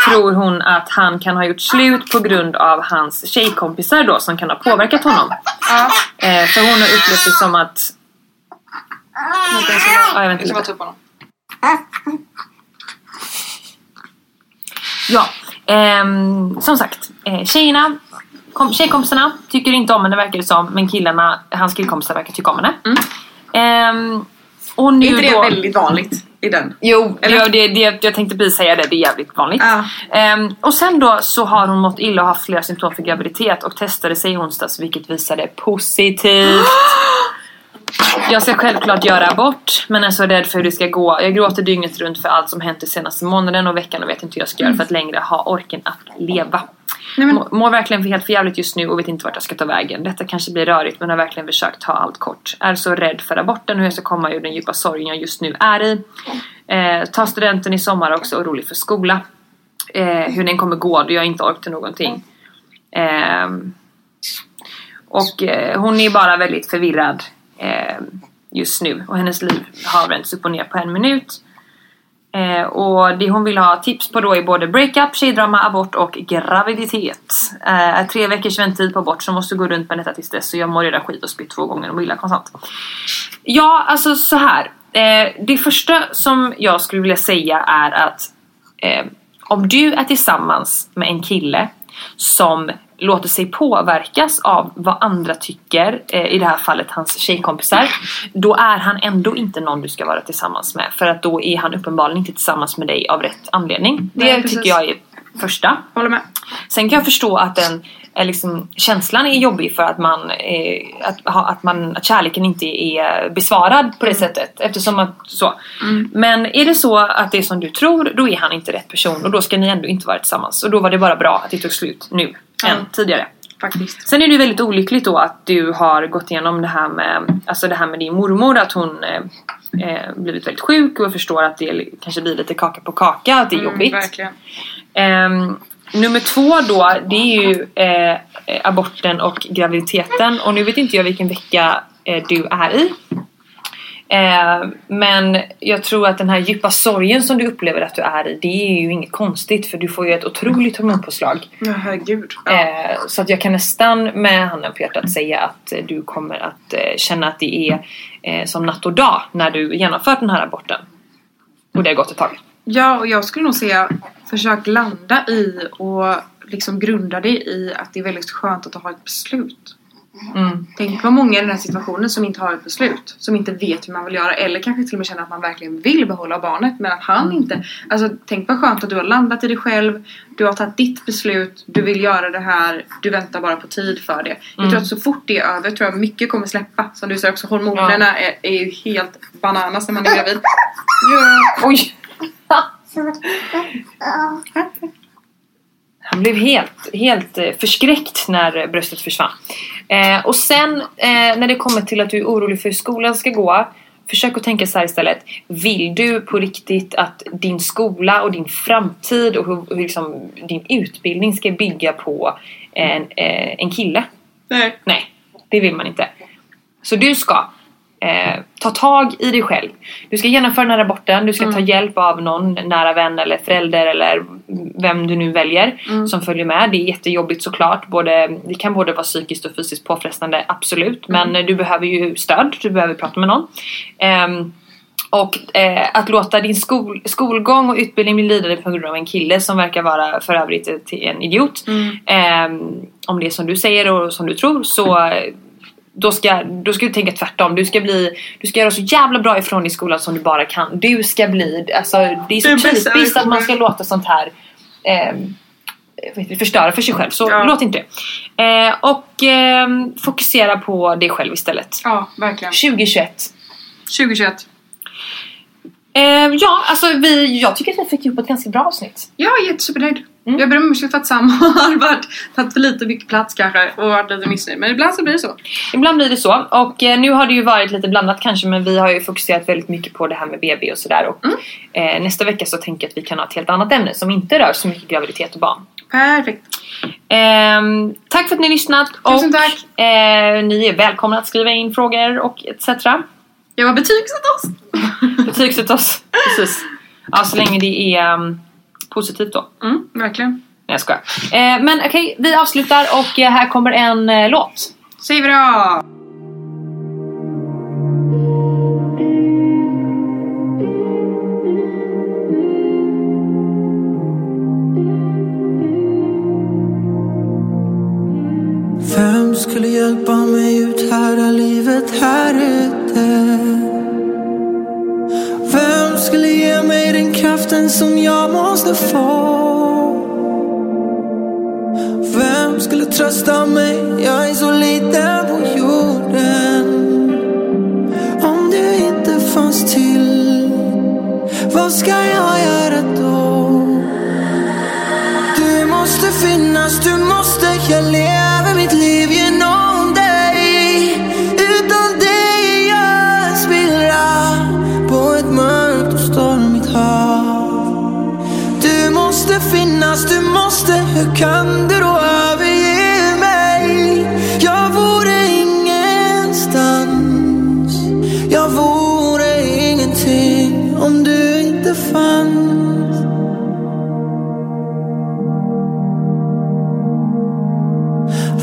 Speaker 3: tror hon att han kan ha gjort slut på grund av hans tjejkompisar då som kan ha påverkat honom. Eh, för hon har upplevt det som att... Vänta, jag ska bara- ja, jag väntar
Speaker 4: Jag ska
Speaker 3: lite.
Speaker 4: bara ta upp honom.
Speaker 3: Ja, ehm, som sagt. Eh, tjejerna, kom, tjejkompisarna tycker inte om henne verkar det som. Men killarna, hans killkompisar verkar tycka om henne. Ehm, och nu
Speaker 4: Är inte det
Speaker 3: då,
Speaker 4: väldigt vanligt i den?
Speaker 3: Jo,
Speaker 4: Eller?
Speaker 3: det, det, det, jag tänkte precis säga det. Det är jävligt vanligt.
Speaker 4: Ja.
Speaker 3: Ehm, och sen då så har hon mått illa och haft flera symptom för graviditet och testade sig i onsdags vilket visade positivt. Jag ska självklart göra abort men är så rädd för hur det ska gå. Jag gråter dygnet runt för allt som hänt den senaste månaden och veckan och vet inte hur jag ska göra för att längre ha orken att leva.
Speaker 4: Mm. Nej, men-
Speaker 3: Mår- Mår verkligen för helt förjävligt just nu och vet inte vart jag ska ta vägen. Detta kanske blir rörigt men har verkligen försökt ta allt kort. Är så rädd för aborten och hur jag ska komma ur den djupa sorgen jag just nu är i. Eh, ta studenten i sommar också, orolig för skola. Eh, hur den kommer gå då jag inte orkar till någonting. Ehm, och eh, hon är bara väldigt förvirrad eh, just nu och hennes liv har vänts upp och ner på en minut. Eh, och det hon vill ha tips på då är både breakup, tjejdrama, abort och graviditet. Eh, tre veckors väntetid på abort så måste gå runt med detta tills dess så jag mår redan skit och spytt två gånger och mår illa konstant. Ja, alltså så här. Eh, det första som jag skulle vilja säga är att eh, om du är tillsammans med en kille som låter sig påverkas av vad andra tycker, eh, i det här fallet hans tjejkompisar, då är han ändå inte någon du ska vara tillsammans med. För att då är han uppenbarligen inte tillsammans med dig av rätt anledning. Det
Speaker 4: Nej, precis.
Speaker 3: tycker jag är första.
Speaker 4: Håller med.
Speaker 3: Sen kan jag förstå att den eh, liksom, känslan är jobbig för att man, eh, att, ha- att man att kärleken inte är besvarad på det sättet. Eftersom att, så. Men är det så att det är som du tror, då är han inte rätt person och då ska ni ändå inte vara tillsammans. Och då var det bara bra att det tog slut nu,
Speaker 4: Ja.
Speaker 3: än tidigare.
Speaker 4: Faktiskt.
Speaker 3: Sen är det ju väldigt olyckligt då att du har gått igenom det här med, alltså det här med din mormor, att hon eh, eh, blivit väldigt sjuk och jag förstår att det kanske blir lite kaka på kaka, att det är jobbigt.
Speaker 4: verkligen.
Speaker 3: Ehm, nummer två då, det är ju eh, aborten och graviditeten. Och nu vet inte jag vilken vecka eh, du är i. Eh, men jag tror att den här djupa sorgen som du upplever att du är i, det är ju inget konstigt för du får ju ett otroligt hormonpåslag.
Speaker 4: Ja, herregud.
Speaker 3: Eh, så att jag kan nästan med handen på hjärtat säga att eh, du kommer att eh, känna att det är eh, som natt och dag när du genomfört den här aborten. Och det har gått ett tag.
Speaker 4: Ja, och jag skulle nog säga försök landa i och liksom grunda dig i att det är väldigt skönt att ha ett beslut.
Speaker 3: Mm.
Speaker 4: Tänk vad många i den här situationen som inte har ett beslut. Som inte vet hur man vill göra eller kanske till och med känner att man verkligen vill behålla barnet men att han inte... Alltså tänk vad skönt att du har landat i dig själv. Du har tagit ditt beslut. Du vill göra det här. Du väntar bara på tid för det. Jag tror att så fort det är över tror jag mycket kommer släppa. Som du säger också, hormonerna är, är ju helt bananas när man är gravid.
Speaker 3: Oj! Han blev helt, helt eh, förskräckt när eh, bröstet försvann. Eh, och sen eh, när det kommer till att du är orolig för hur skolan ska gå. Försök att tänka så här istället. Vill du på riktigt att din skola och din framtid och hur, hur liksom din utbildning ska bygga på en, eh, en kille?
Speaker 4: Nej.
Speaker 3: Nej, det vill man inte. Så du ska eh, ta tag i dig själv. Du ska genomföra den här aborten, du ska ta hjälp av någon nära vän eller förälder eller vem du nu väljer som följer med. Det är jättejobbigt såklart. Både, det kan både vara psykiskt och fysiskt påfrestande, absolut. Men eh, du behöver ju stöd, du behöver prata med någon. Ehm, och eh, att låta din skol, skolgång och utbildning bli lidande på grund av en kille som verkar vara för övrigt ett- en idiot.
Speaker 4: Mm.
Speaker 3: Ehm, om det är som du säger och som du tror så eh, då ska, då ska du tänka tvärtom. Du ska, bli, du ska göra så jävla bra ifrån i skolan som du bara kan. Du ska bli... Alltså, det är
Speaker 4: Det är
Speaker 3: så
Speaker 4: bästa
Speaker 3: typiskt att man ska
Speaker 4: versionen.
Speaker 3: låta sånt här ehm, vad heter det, förstöra för sig själv. Så
Speaker 4: Ja.
Speaker 3: låt inte det. Eh, och ehm, fokusera på dig själv istället.
Speaker 4: Ja, verkligen.
Speaker 3: 2021.
Speaker 4: 2021.
Speaker 3: Eh, ja, alltså vi, jag tycker att vi fick ihop ett ganska bra avsnitt.
Speaker 4: Jag är jättesupernöjd. Jag ber om ursäkt för att Sam har varit, tagit för lite mycket plats kanske och varit lite missnöjd. Men ibland så blir det så.
Speaker 3: Ibland blir det så. Och eh, nu har det ju varit lite blandat kanske men vi har ju fokuserat väldigt mycket på det här med BB och sådär. Och
Speaker 4: Mm.
Speaker 3: eh, nästa vecka så tänker jag att vi kan ha ett helt annat ämne som inte rör så mycket graviditet och barn.
Speaker 4: Perfekt.
Speaker 3: Ehm, tack för att ni har lyssnat.
Speaker 4: Tusen
Speaker 3: och,
Speaker 4: tack.
Speaker 3: Eh, ni är välkomna att skriva in frågor och etc.
Speaker 4: Jag var betygsatt oss.
Speaker 3: Betygsätt oss. Precis. Ja, så länge det är ehm, positivt då.
Speaker 4: Mm, verkligen.
Speaker 3: Nej jag skojar. Eh, men okej, vi avslutar och eh, här kommer en eh, låt.
Speaker 4: Säg bra!
Speaker 5: Vem skulle hjälpa mig ut här av livet här ute? Vem skulle ge mig den kraften som jag måste få? Vem skulle trösta mig? Jag är så liten på jorden. Om du inte fanns till, vad ska jag göra då? Du måste finnas, du måste Jag lever mitt liv genom dig Utan dig är jag en spillra På ett mörkt och stormigt hav Du måste finnas, du måste Hur kan du då överge mig? Jag vore ingenstans Jag vore ingenting Om du inte fanns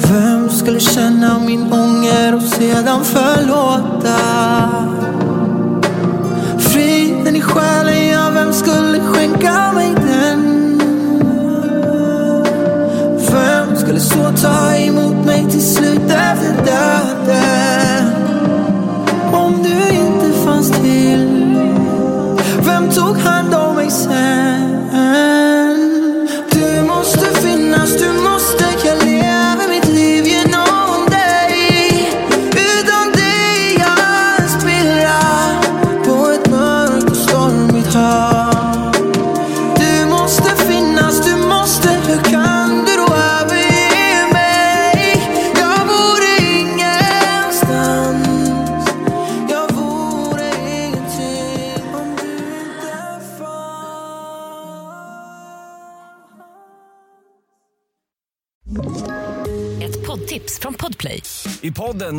Speaker 5: Vem skulle känna min ånger och sedan förlåta? Friden i själen, ja vem skulle skänka mig den? Vem skulle så ta emot mig till slut efter döden? Om du inte fanns till vem tog hand om mig sen? Du måste finnas, du måste Jag lever mitt liv genom dig Utan dig är jag en spillra På ett mörkt och stormigt hav Du måste finnas, du måste Hur kan du då överge mig? Jag vore ingenstans jag vore ingenting om du inte fanns
Speaker 6: ett tips från Podplay.
Speaker 7: I podden